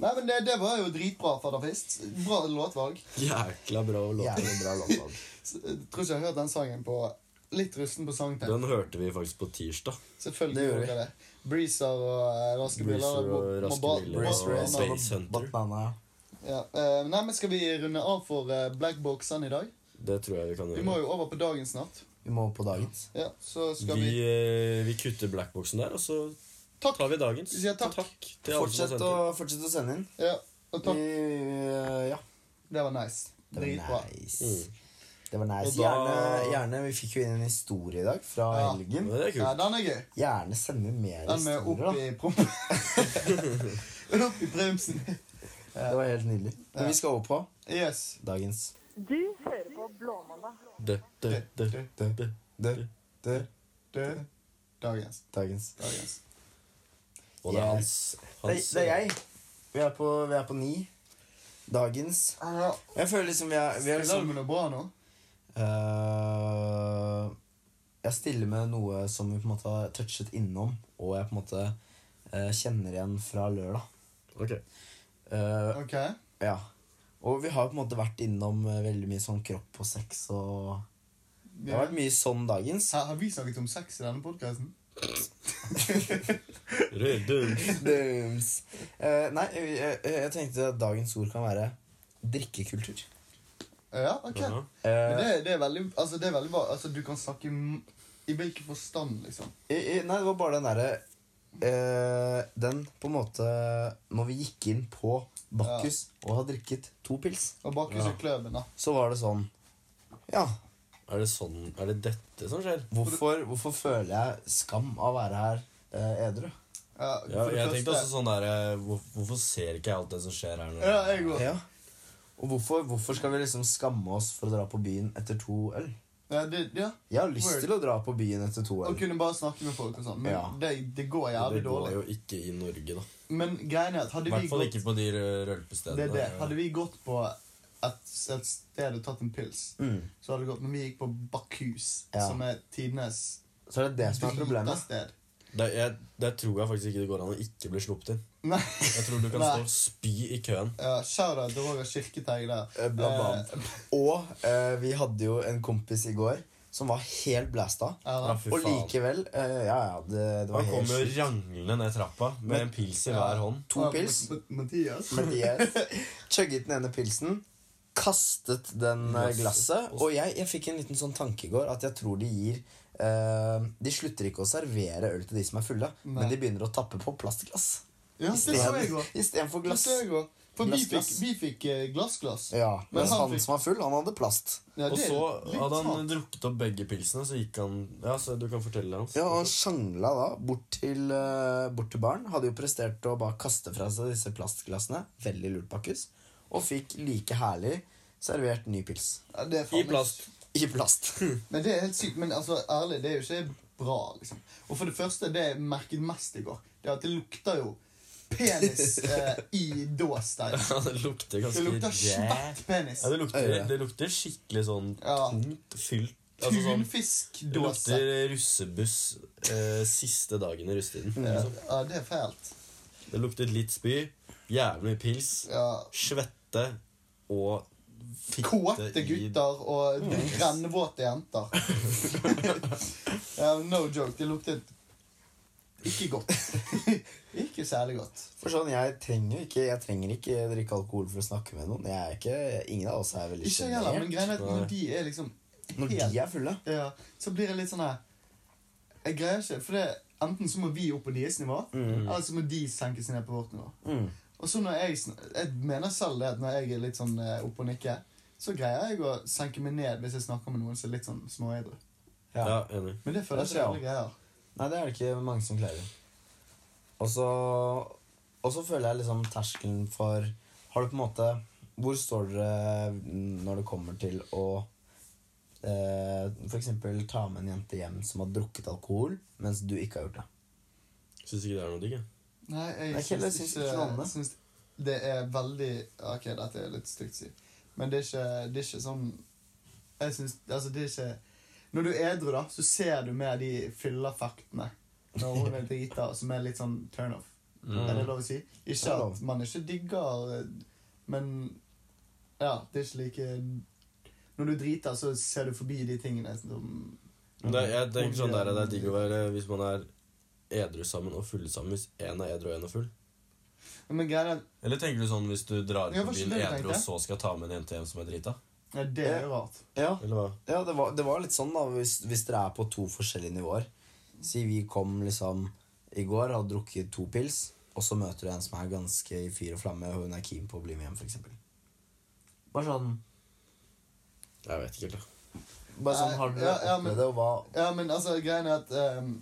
Speaker 3: Nei, men det, det var jo dritbra, Fadderfist. Bra låtvalg.
Speaker 4: Jækla bra låt.
Speaker 2: Jævlig bra låtvalg.
Speaker 3: S- Jeg tror ikke jeg har hørt den sangen på Litt rusten på sangtegn.
Speaker 4: Den hørte vi faktisk på tirsdag.
Speaker 3: Selvfølgelig
Speaker 2: Det gjør vi.
Speaker 3: gjorde jeg det. Breezer og eh, Raske
Speaker 4: Breezer
Speaker 3: Briller. må-
Speaker 4: og
Speaker 3: må
Speaker 4: Raske
Speaker 3: ba-
Speaker 4: Briller.
Speaker 3: må-
Speaker 2: Brace
Speaker 4: Og
Speaker 2: Race
Speaker 3: må-
Speaker 4: Space
Speaker 2: og
Speaker 4: Hunter.
Speaker 2: Banana.
Speaker 3: Ja. eh, Nei, men Skal vi runde av for eh, Black Boxen i dag?
Speaker 4: Det tror jeg vi kan
Speaker 3: Vi må
Speaker 4: gjøre.
Speaker 3: jo over på dagen snart.
Speaker 2: Vi må på dagens.
Speaker 3: Ja, Så skal
Speaker 4: Vi,
Speaker 3: vi
Speaker 4: eh, vi kutter blackboxen der, og så
Speaker 3: Takk!
Speaker 4: tar vi dagens.
Speaker 3: Vi sier takk.
Speaker 4: til alle som har
Speaker 2: Fortsett
Speaker 4: sendt
Speaker 2: å,
Speaker 4: inn.
Speaker 2: fortsett å sende inn.
Speaker 3: Ja, og
Speaker 2: Vi,
Speaker 3: takk.
Speaker 2: ja.
Speaker 3: Det var nice.
Speaker 2: Det
Speaker 3: Dritbra.
Speaker 2: var nice.
Speaker 4: Mm.
Speaker 2: Det var nice.
Speaker 4: Og da-
Speaker 2: Gjerne, gjerne, Vi fikk jo inn en historie i dag fra
Speaker 3: Ja.
Speaker 2: helgen.
Speaker 4: Men det er
Speaker 3: Ja,
Speaker 4: kult.
Speaker 3: den er gøy.
Speaker 2: Gjerne sende mer
Speaker 3: Den med opp
Speaker 2: historier. da.
Speaker 3: i prompen. (laughs) opp i bremsen.
Speaker 2: Det var helt nydelig. Men vi skal over på
Speaker 3: Yes.
Speaker 2: dagens
Speaker 1: Du hører på Blåmandag.
Speaker 4: Dø, dø, dø, dø, dø.
Speaker 2: Dø, dø,
Speaker 3: Død. Dagens.
Speaker 2: dagens.
Speaker 3: Dagens.
Speaker 4: Og det er hans,
Speaker 2: Yes. Det,
Speaker 4: hans
Speaker 2: det er jeg. Vi er, på, vi er på ni. Dagens.
Speaker 3: Ja.
Speaker 2: Jeg føler liksom vi er, vi er
Speaker 3: Spiller
Speaker 2: liksom
Speaker 3: du med noe bra nå?
Speaker 2: Øh, Jeg stiller med noe som vi på en måte har touchet innom, og jeg på en måte øh, kjenner igjen fra lørdag.
Speaker 4: Ok.
Speaker 2: Øh,
Speaker 3: Ok.
Speaker 2: ja. Og vi har på en måte vært innom øh, veldig mye sånn kropp og sex og Det har vært mye sånn dagens.
Speaker 3: Her har vi snakket om sex i denne podkasten?
Speaker 4: Rødum.
Speaker 2: Dums. Eh, nei, jeg, jeg, jeg tenkte at dagens ord kan være drikkekultur.
Speaker 3: Ja, ok.
Speaker 4: Ja.
Speaker 2: Eh,
Speaker 3: Men det, det, er veldig, altså, det er veldig bra. Altså, du kan snakke m- i hvilken forstand, liksom.
Speaker 2: I, i, nei, det var bare den derre eh, Den på en måte Når vi gikk inn på Bakkus og hadde drikket to pils,
Speaker 3: Og bak huset
Speaker 4: Ja.
Speaker 3: i kløven, da.
Speaker 2: så var det sånn Ja,
Speaker 4: Er det sånn Er det dette som skjer?
Speaker 2: hvorfor, hvorfor føler jeg skam av å være her eh, edru?
Speaker 3: Ja,
Speaker 4: Ja,
Speaker 3: for det
Speaker 4: jeg
Speaker 3: første-
Speaker 4: tenkte også sånn der eh, hvor, Hvorfor ser ikke jeg alt det som skjer her nå?
Speaker 3: Ja, jeg går.
Speaker 2: Ja. Og hvorfor, hvorfor skal vi liksom skamme oss for å dra på byen etter to øl?
Speaker 3: Ja, det, ja.
Speaker 2: Jeg har lyst
Speaker 3: Word.
Speaker 2: til å dra på byen etter to
Speaker 3: Å
Speaker 2: øl.
Speaker 3: kunne bare snakke med folk og sånn. Men
Speaker 2: Ja.
Speaker 3: det, det går jævlig
Speaker 4: det går
Speaker 3: dårlig.
Speaker 4: jo ikke i Norge, da.
Speaker 3: Men greien er at hadde
Speaker 4: I
Speaker 3: vi
Speaker 4: hvert fall
Speaker 3: gått
Speaker 4: ikke på de rø-
Speaker 3: Det
Speaker 4: rølpestedene.
Speaker 3: er det. Hadde vi gått på et, et sted og tatt en pils,
Speaker 2: Mm.
Speaker 3: så hadde det gått Men vi gikk på Bakkhus,
Speaker 2: Ja.
Speaker 3: som er tidenes
Speaker 2: Så er det det som er problemet.
Speaker 3: sted.
Speaker 4: Der, jeg, der tror jeg faktisk ikke det går an å ikke bli sluppet inn.
Speaker 3: Nei.
Speaker 4: Jeg tror du kan
Speaker 3: Nei.
Speaker 4: stå og spy i køen.
Speaker 3: Ja, Shout-out til Roger Kirketeig der.
Speaker 2: Eh, Blant
Speaker 3: Eh,
Speaker 2: annet. Og eh, vi hadde jo en kompis i går som var helt blæsta.
Speaker 3: ja,
Speaker 4: Ja,
Speaker 3: da.
Speaker 4: fy
Speaker 2: Og
Speaker 4: faen.
Speaker 2: likevel eh, Ja, ja, det, det var
Speaker 4: Han kom
Speaker 2: helt
Speaker 4: jo
Speaker 2: sjukt.
Speaker 4: ranglende ned trappa med en pils i hver hånd.
Speaker 2: To
Speaker 3: Ja,
Speaker 2: pils.
Speaker 3: Ma- Ma- Mathias.
Speaker 2: Mathias (laughs) chugget den ene pilsen, kastet den eh, glasset. Og jeg, jeg fikk en liten sånn tanke i går at jeg tror de gir eh, De slutter ikke å servere øl til de som er fulle, men de begynner å tappe på plastglass.
Speaker 3: (laughs) Ja, det så jeg òg.
Speaker 2: Istedenfor
Speaker 3: Det
Speaker 2: glass.
Speaker 3: så jeg også. For vi fikk,
Speaker 2: Glassglass.
Speaker 3: vi fikk eh, glassglass.
Speaker 2: Ja,
Speaker 3: Men
Speaker 2: mens
Speaker 3: han
Speaker 2: han
Speaker 3: fikk-
Speaker 2: som var full, han hadde plast.
Speaker 3: Ja,
Speaker 4: Og
Speaker 3: det er
Speaker 4: så
Speaker 3: litt
Speaker 4: hadde han
Speaker 3: sant.
Speaker 4: drukket opp begge pilsene, så gikk han Ja, så du kan fortelle det, Hans.
Speaker 2: Ja,
Speaker 4: (laughs)
Speaker 2: og han sjangla da bort til, eh, bort til baren. Hadde jo prestert å bare kaste fra seg disse plastglassene. Veldig lurt, Bakkus. Og fikk like herlig servert ny pils.
Speaker 3: Ja, det er faen
Speaker 4: I
Speaker 3: meg-
Speaker 4: plast.
Speaker 2: I
Speaker 3: (laughs)
Speaker 2: plast.
Speaker 3: Men det er helt sykt. Men altså, ærlig, det er jo ikke bra, liksom. Og for det første, det jeg merket mest i går, det er at det lukter jo
Speaker 2: (laughs)
Speaker 3: penis eh, i dås der.
Speaker 4: Ja, det
Speaker 3: Det
Speaker 4: lukter ganske
Speaker 3: lukter svett penis.
Speaker 4: Ja, det lukter,
Speaker 2: Øye.
Speaker 4: det lukter skikkelig sånn
Speaker 3: Ja.
Speaker 4: tungt, fylt altså sånn, Det
Speaker 3: Tunfiskdåse.
Speaker 4: lukter russebuss eh, siste dagen i russetiden. liksom.
Speaker 3: Ja, det er fælt.
Speaker 4: Det lukter litt spy, jævlig mye pils,
Speaker 3: Ja.
Speaker 4: svette og fitte
Speaker 3: Kåte gutter og
Speaker 2: (laughs)
Speaker 3: brennvåte jenter. ja, no joke. Det luktet Ikke godt. (laughs) ikke særlig godt.
Speaker 2: For sånn, Jeg trenger jo ikke Jeg trenger ikke drikke alkohol for å snakke med noen. Jeg er ikke, Ingen av oss er veldig
Speaker 3: Ikke heller, men
Speaker 2: sjenert.
Speaker 3: greia er at når de er liksom
Speaker 2: Når de er fulle
Speaker 3: Ja, så blir jeg litt sånn her Jeg greier ikke, for det enten så må vi opp på deres nivå, eller så må de senke seg ned på vårt nivå.
Speaker 2: mm.
Speaker 3: Og så når jeg sn- Jeg mener selv det at når jeg er litt sånn eh, oppe og nikker, så greier jeg å senke meg ned hvis jeg snakker med noen som er litt sånn småedru.
Speaker 2: ja.
Speaker 4: Ja, enig.
Speaker 3: Men det føler
Speaker 2: Det
Speaker 3: jeg ikke
Speaker 2: tror
Speaker 3: alle
Speaker 2: jeg
Speaker 3: greier.
Speaker 2: Nei, det er det ikke mange som klarer. Og så Og så føler jeg liksom terskelen for Har du på en måte Hvor står dere når det kommer til å eh, F.eks. ta med en jente hjem som har drukket alkohol, mens du ikke har gjort det.
Speaker 4: Syns ikke det er noe digg, jeg.
Speaker 3: Nei,
Speaker 2: Nei,
Speaker 3: jeg
Speaker 2: Kjell, jeg
Speaker 3: syns
Speaker 2: syns
Speaker 3: ikke
Speaker 2: ikke noe om det.
Speaker 3: jeg syns det er veldig Ok, dette er litt stygt å si, men det er ikke, det er ikke sånn Jeg syns Altså, det er ikke Når du er edru, da, så ser du mer de fyllefaktene når hun er drita, som er litt sånn turn-off.
Speaker 4: Mm.
Speaker 3: Er det lov å si?
Speaker 2: Det
Speaker 3: Ikke
Speaker 2: er lov.
Speaker 3: at man ikke digger eh, Men Ja, det er ikke like Når du driter, så ser du forbi de tingene som
Speaker 4: Men Det, er- jeg tenker sånn der, det er digg å være hvis man er edru sammen og fulle sammen hvis én er edru og én er full.
Speaker 3: Men greia er at
Speaker 4: Eller tenker du sånn hvis du drar
Speaker 3: Ja,
Speaker 4: på
Speaker 3: hva
Speaker 4: byen
Speaker 3: skjønner du,
Speaker 4: edru
Speaker 3: tenkte
Speaker 4: og
Speaker 3: jeg?
Speaker 4: så skal ta med en jente hjem som er drita?
Speaker 3: ja, Det er jo rart.
Speaker 2: Ja,
Speaker 4: Eller hva?
Speaker 2: ja det, var, det var litt sånn, da, hvis, hvis dere er på to forskjellige nivåer. Si vi kom liksom i går, har drukket to pils, og så møter du en som er ganske i fyr og flamme, og hun er keen på å bli med hjem, f.eks. Bare sånn
Speaker 4: Jeg vet ikke helt, da.
Speaker 2: Bare sånn, har dere
Speaker 3: Ja, ja, men-
Speaker 2: opplevd det, og hva
Speaker 3: Ja, men altså, greia er at ehm,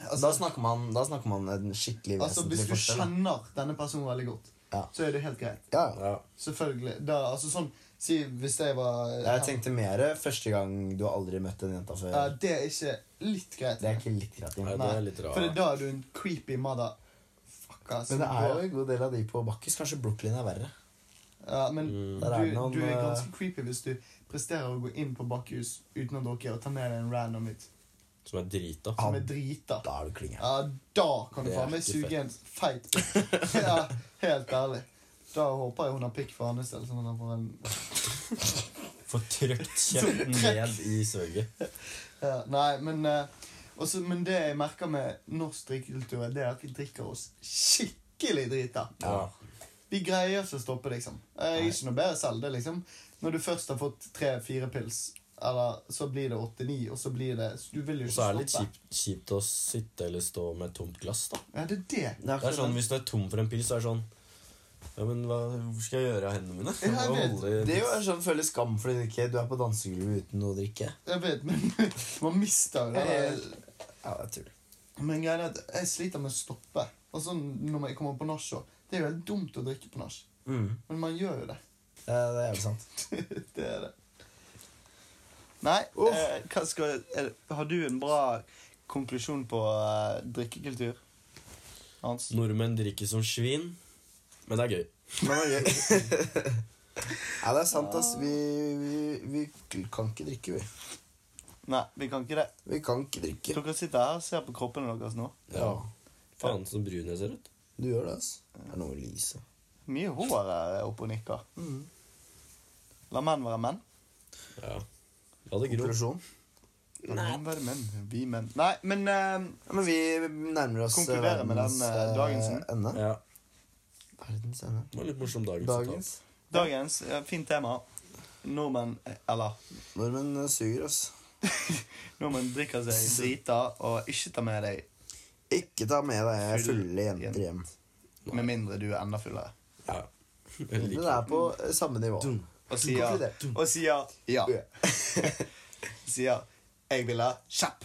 Speaker 3: altså,
Speaker 2: da, snakker man, da snakker man en skikkelig
Speaker 3: altså,
Speaker 2: vesentlig
Speaker 3: Hvis du
Speaker 2: forskjell. da.
Speaker 3: kjenner denne personen veldig godt,
Speaker 2: Ja.
Speaker 3: så er det helt greit.
Speaker 2: Ja, ja.
Speaker 4: Ja.
Speaker 3: Selvfølgelig. Da, altså sånn, Si hvis jeg var
Speaker 2: Jeg tenkte mer første gang du har aldri møtt en jenta før.
Speaker 3: ja, Det er ikke litt greit.
Speaker 2: Det er ikke litt greit. Jim.
Speaker 4: Nei, det
Speaker 3: Nei,
Speaker 4: er litt rart.
Speaker 3: For det er da du er en creepy mother Fuck, ass.
Speaker 2: Men det er jo en god del av de på Bakkis. Kanskje Brooklyn er verre.
Speaker 3: Ja, men
Speaker 2: Mm. Der er
Speaker 3: du,
Speaker 2: det noen,
Speaker 3: du er
Speaker 2: eh,
Speaker 3: ganske creepy hvis du presterer å gå inn på bakhus uten å drukke og ta med deg en random hit
Speaker 4: Som er drita.
Speaker 3: som er drita.
Speaker 2: Da er du klinge.
Speaker 3: Ja, da kan du
Speaker 4: Det er
Speaker 3: faen meg
Speaker 4: ikke
Speaker 3: suge
Speaker 4: fett.
Speaker 3: en feit
Speaker 4: (laughs)
Speaker 3: (laughs) pikk. Ja, helt ærlig. Da håper jeg hun har pikk for hans del. Sånn at han får en
Speaker 4: Får trykt kjeften ned i søget.
Speaker 3: ja, Nei, men eh, også, Men det jeg merker med norsk drikkekultur, er det at vi drikker oss skikkelig drita.
Speaker 4: Ja.
Speaker 3: Vi greier ikke å stoppe, liksom. Jeg er ikke noe bedre selv. det liksom Når du først har fått tre-fire pils, eller så blir det åtte-ni, og så blir det Du vil jo
Speaker 4: Og
Speaker 3: ikke
Speaker 4: så
Speaker 3: stoppe.
Speaker 4: er det litt kjipt, kjipt å sitte eller stå med et tomt glass, da.
Speaker 3: Ja, det er det.
Speaker 4: Det er sånn, Hvis du er tom for en pils, så er det sånn Ja, men hva hvor skal jeg gjøre av hendene mine?
Speaker 3: jeg
Speaker 4: Hva
Speaker 3: vet.
Speaker 4: holder jeg-
Speaker 2: Det er jo en sånn føler skam fordi du ikke Du er på dansegulvet uten noe å drikke.
Speaker 3: Jeg vet, men (laughs) man mister jo det.
Speaker 2: Ja, jeg tror det.
Speaker 3: Men greia er at jeg sliter med å stoppe. Altså, når jeg kommer på nach òg. Det er jo helt dumt å drikke på nach.
Speaker 2: Mm.
Speaker 3: Men man gjør jo det. (laughs)
Speaker 2: Eh, Det er helt sant.
Speaker 3: det er det. Nei, eh, hva skal, er, det- har du en bra konklusjon på eh, drikkekultur? Hans?
Speaker 4: Nordmenn drikker som svin, men det er gøy.
Speaker 2: Men det er gøy. Ja, det er sant, ass. Vi, vi, vi kan ikke drikke, vi.
Speaker 3: Nei, vi kan ikke det.
Speaker 2: Vi kan ikke drikke.
Speaker 3: Dere sitter her og ser på kroppene deres nå.
Speaker 2: Ja,
Speaker 4: Faen, så brun jeg ser ut.
Speaker 2: du gjør det, ass. Det er noe med lyset.
Speaker 3: Mye hår er oppe og nikker. La menn være menn.
Speaker 4: Ja. La det gro.
Speaker 2: Konklusjon?
Speaker 3: La menn være menn. Vi menn. Nei, men eh,
Speaker 2: Ja, men vi nærmer oss
Speaker 3: Konkluderer med
Speaker 2: verdens,
Speaker 3: den, eh, dagens
Speaker 2: eh, ende.
Speaker 4: Ja.
Speaker 2: Verdens ende.
Speaker 4: Det var en litt morsom dagens.
Speaker 2: Dagens.
Speaker 4: sitat.
Speaker 3: dagens eh, fint tema. Nordmenn eh, Eller
Speaker 2: Nordmenn eh, suger, ass.
Speaker 3: (laughs) nordmenn drikker seg drita og ikke tar med deg
Speaker 2: Ikke ta med deg
Speaker 3: Full
Speaker 2: fulle jenter hjem.
Speaker 3: med mindre du er enda fullere.
Speaker 4: Ja. (laughs) Jeg
Speaker 2: Det
Speaker 4: liker
Speaker 2: er på eh, samme nivå.
Speaker 3: Og sier,
Speaker 2: Konkludert.
Speaker 3: og sier ja.
Speaker 2: Ja.
Speaker 3: Sier 'jeg vil ha kjapp'.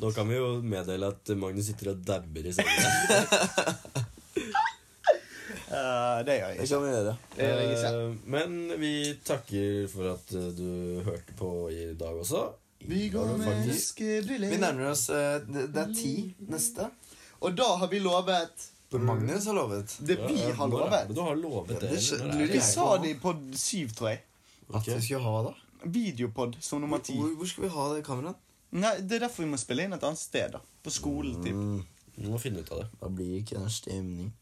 Speaker 4: Nå kan vi jo meddele at Magnus sitter og dabber i sengen.
Speaker 3: Eh, det gjør jeg
Speaker 2: Det
Speaker 3: ikke.
Speaker 2: kan vi gjøre.
Speaker 3: Det gjør jeg ikke.
Speaker 4: Eh, Men vi takker for at eh, du hørte på i dag også.
Speaker 3: Vi går
Speaker 4: med
Speaker 3: med
Speaker 2: Vi
Speaker 3: fiskebriller.
Speaker 2: nærmer oss eh, Det det er ti neste.
Speaker 3: Og da har vi lovet
Speaker 2: Magnus har lovet.
Speaker 3: det vi
Speaker 4: Ja,
Speaker 3: har
Speaker 4: når er
Speaker 3: lovet.
Speaker 4: det Du har lovet det.
Speaker 2: det skjø-
Speaker 4: eller når er
Speaker 2: lurer
Speaker 3: Vi
Speaker 4: det?
Speaker 2: jeg
Speaker 3: sa
Speaker 2: på.
Speaker 3: det i pod syv, tror jeg.
Speaker 2: At vi skulle ha det.
Speaker 3: Videopod som nummer ti.
Speaker 2: Hvor, hvor skal vi ha det kameraet?
Speaker 3: Nei, Det er derfor vi må spille inn et annet sted. da På skolen, typ.
Speaker 4: Vi må finne ut av det.
Speaker 2: Da blir det ikke den stemning.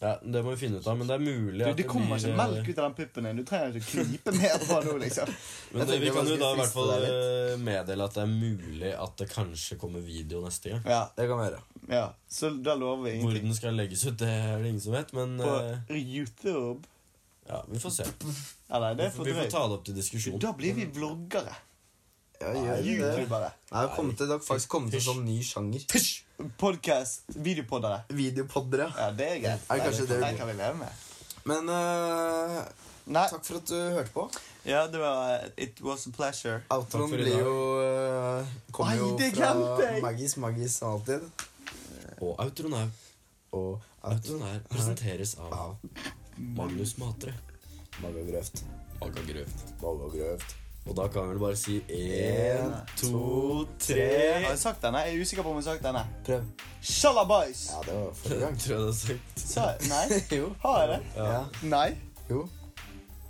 Speaker 4: Ja, Det må vi finne ut av, men det er mulig
Speaker 3: Du,
Speaker 4: at
Speaker 3: det kommer
Speaker 4: blir,
Speaker 3: ikke
Speaker 4: eh,
Speaker 3: melk ut av den puppen din. Du trenger ikke knipe mer på nå, liksom.
Speaker 4: Men
Speaker 2: Jeg
Speaker 4: det, vi
Speaker 2: tenker
Speaker 4: kan jo
Speaker 2: jeg
Speaker 4: da
Speaker 2: bare
Speaker 4: i hvert
Speaker 2: skal
Speaker 4: fall
Speaker 2: friste deg
Speaker 4: eh, meddele at det er mulig at det kanskje kommer video neste gang.
Speaker 3: Ja,
Speaker 2: Det kan vi gjøre.
Speaker 3: ja. Så da lover vi
Speaker 4: Hvor
Speaker 3: ingenting.
Speaker 4: den skal legges ut, det er det ingen som vet, men
Speaker 3: På
Speaker 4: eh,
Speaker 3: YouTube?
Speaker 4: ja, vi får se.
Speaker 3: Eller, det er for
Speaker 4: Vi får
Speaker 3: drøyt.
Speaker 4: ta det opp til diskusjon.
Speaker 3: Da blir vi vloggere.
Speaker 2: Ja, gjør vi det.
Speaker 3: Youtubere.
Speaker 2: Nei, det har kommet til- det har faktisk kommet til en sånn ny sjanger.
Speaker 3: Pysj! Podcast, videopoddere.
Speaker 2: Videopodder, ja.
Speaker 3: Ja, det er greit.
Speaker 2: Er det kanskje det vi
Speaker 3: Den
Speaker 2: blir?
Speaker 3: kan vi leve med.
Speaker 2: Men eh,
Speaker 3: Nei.
Speaker 2: takk for at du hørte på.
Speaker 3: Ja, det var eh, It was a pleasure.
Speaker 2: Outroen
Speaker 4: Takk for i
Speaker 2: blir
Speaker 4: dag.
Speaker 2: jo eh, Kommer
Speaker 3: Oi,
Speaker 2: jo
Speaker 3: det glemte
Speaker 2: fra
Speaker 3: jeg!
Speaker 2: Maggis Maggis som alltid.
Speaker 4: Og outroen er,
Speaker 2: Og
Speaker 4: outroen er presenteres av Magnus Matre.
Speaker 2: Magga Grøft.
Speaker 4: Aga Grøft.
Speaker 2: Magga Grøft.
Speaker 4: Og da kan vi vel bare si én, to,
Speaker 3: Har
Speaker 4: tre
Speaker 3: jeg sagt denne? Jeg er usikker på om jeg har sagt denne.
Speaker 2: Prøv.
Speaker 3: Shalabais!
Speaker 2: Ja, det var forrige gang.
Speaker 4: (laughs) Tror jeg det er sagt.
Speaker 3: Sa jeg Nei?
Speaker 2: (laughs) jo.
Speaker 3: Har jeg det?
Speaker 2: Ja.
Speaker 3: Nei?
Speaker 2: Jo.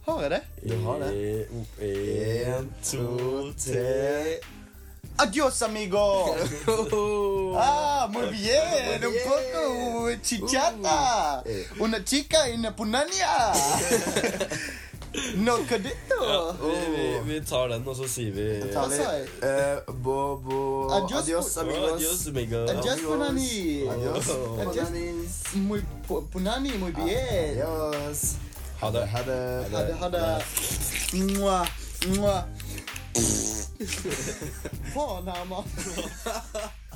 Speaker 3: Har jeg det?
Speaker 2: Du har det.
Speaker 4: E, Én, to,
Speaker 3: (laughs)
Speaker 4: tre
Speaker 3: Adios, amigo!
Speaker 2: (laughs)
Speaker 3: Ah, muy bien! Un poco chichata! Una chica in Punania! No cadito!
Speaker 4: Vi, vi, vi tar den, og så sier vi
Speaker 3: Hva sa jeg?
Speaker 2: Eh, bo, bo
Speaker 3: Adios,
Speaker 2: Adios, amigos.
Speaker 4: Adios, amigo.
Speaker 3: Adios, Punani!
Speaker 2: Adios.
Speaker 3: Adios.
Speaker 2: Bonanis.
Speaker 3: Muy, pu- Punani, muy bien!
Speaker 2: Adios.
Speaker 4: Ha det.
Speaker 2: Ha det.
Speaker 3: Ha det, ha det! Mwah, mwah. Faen, Herman!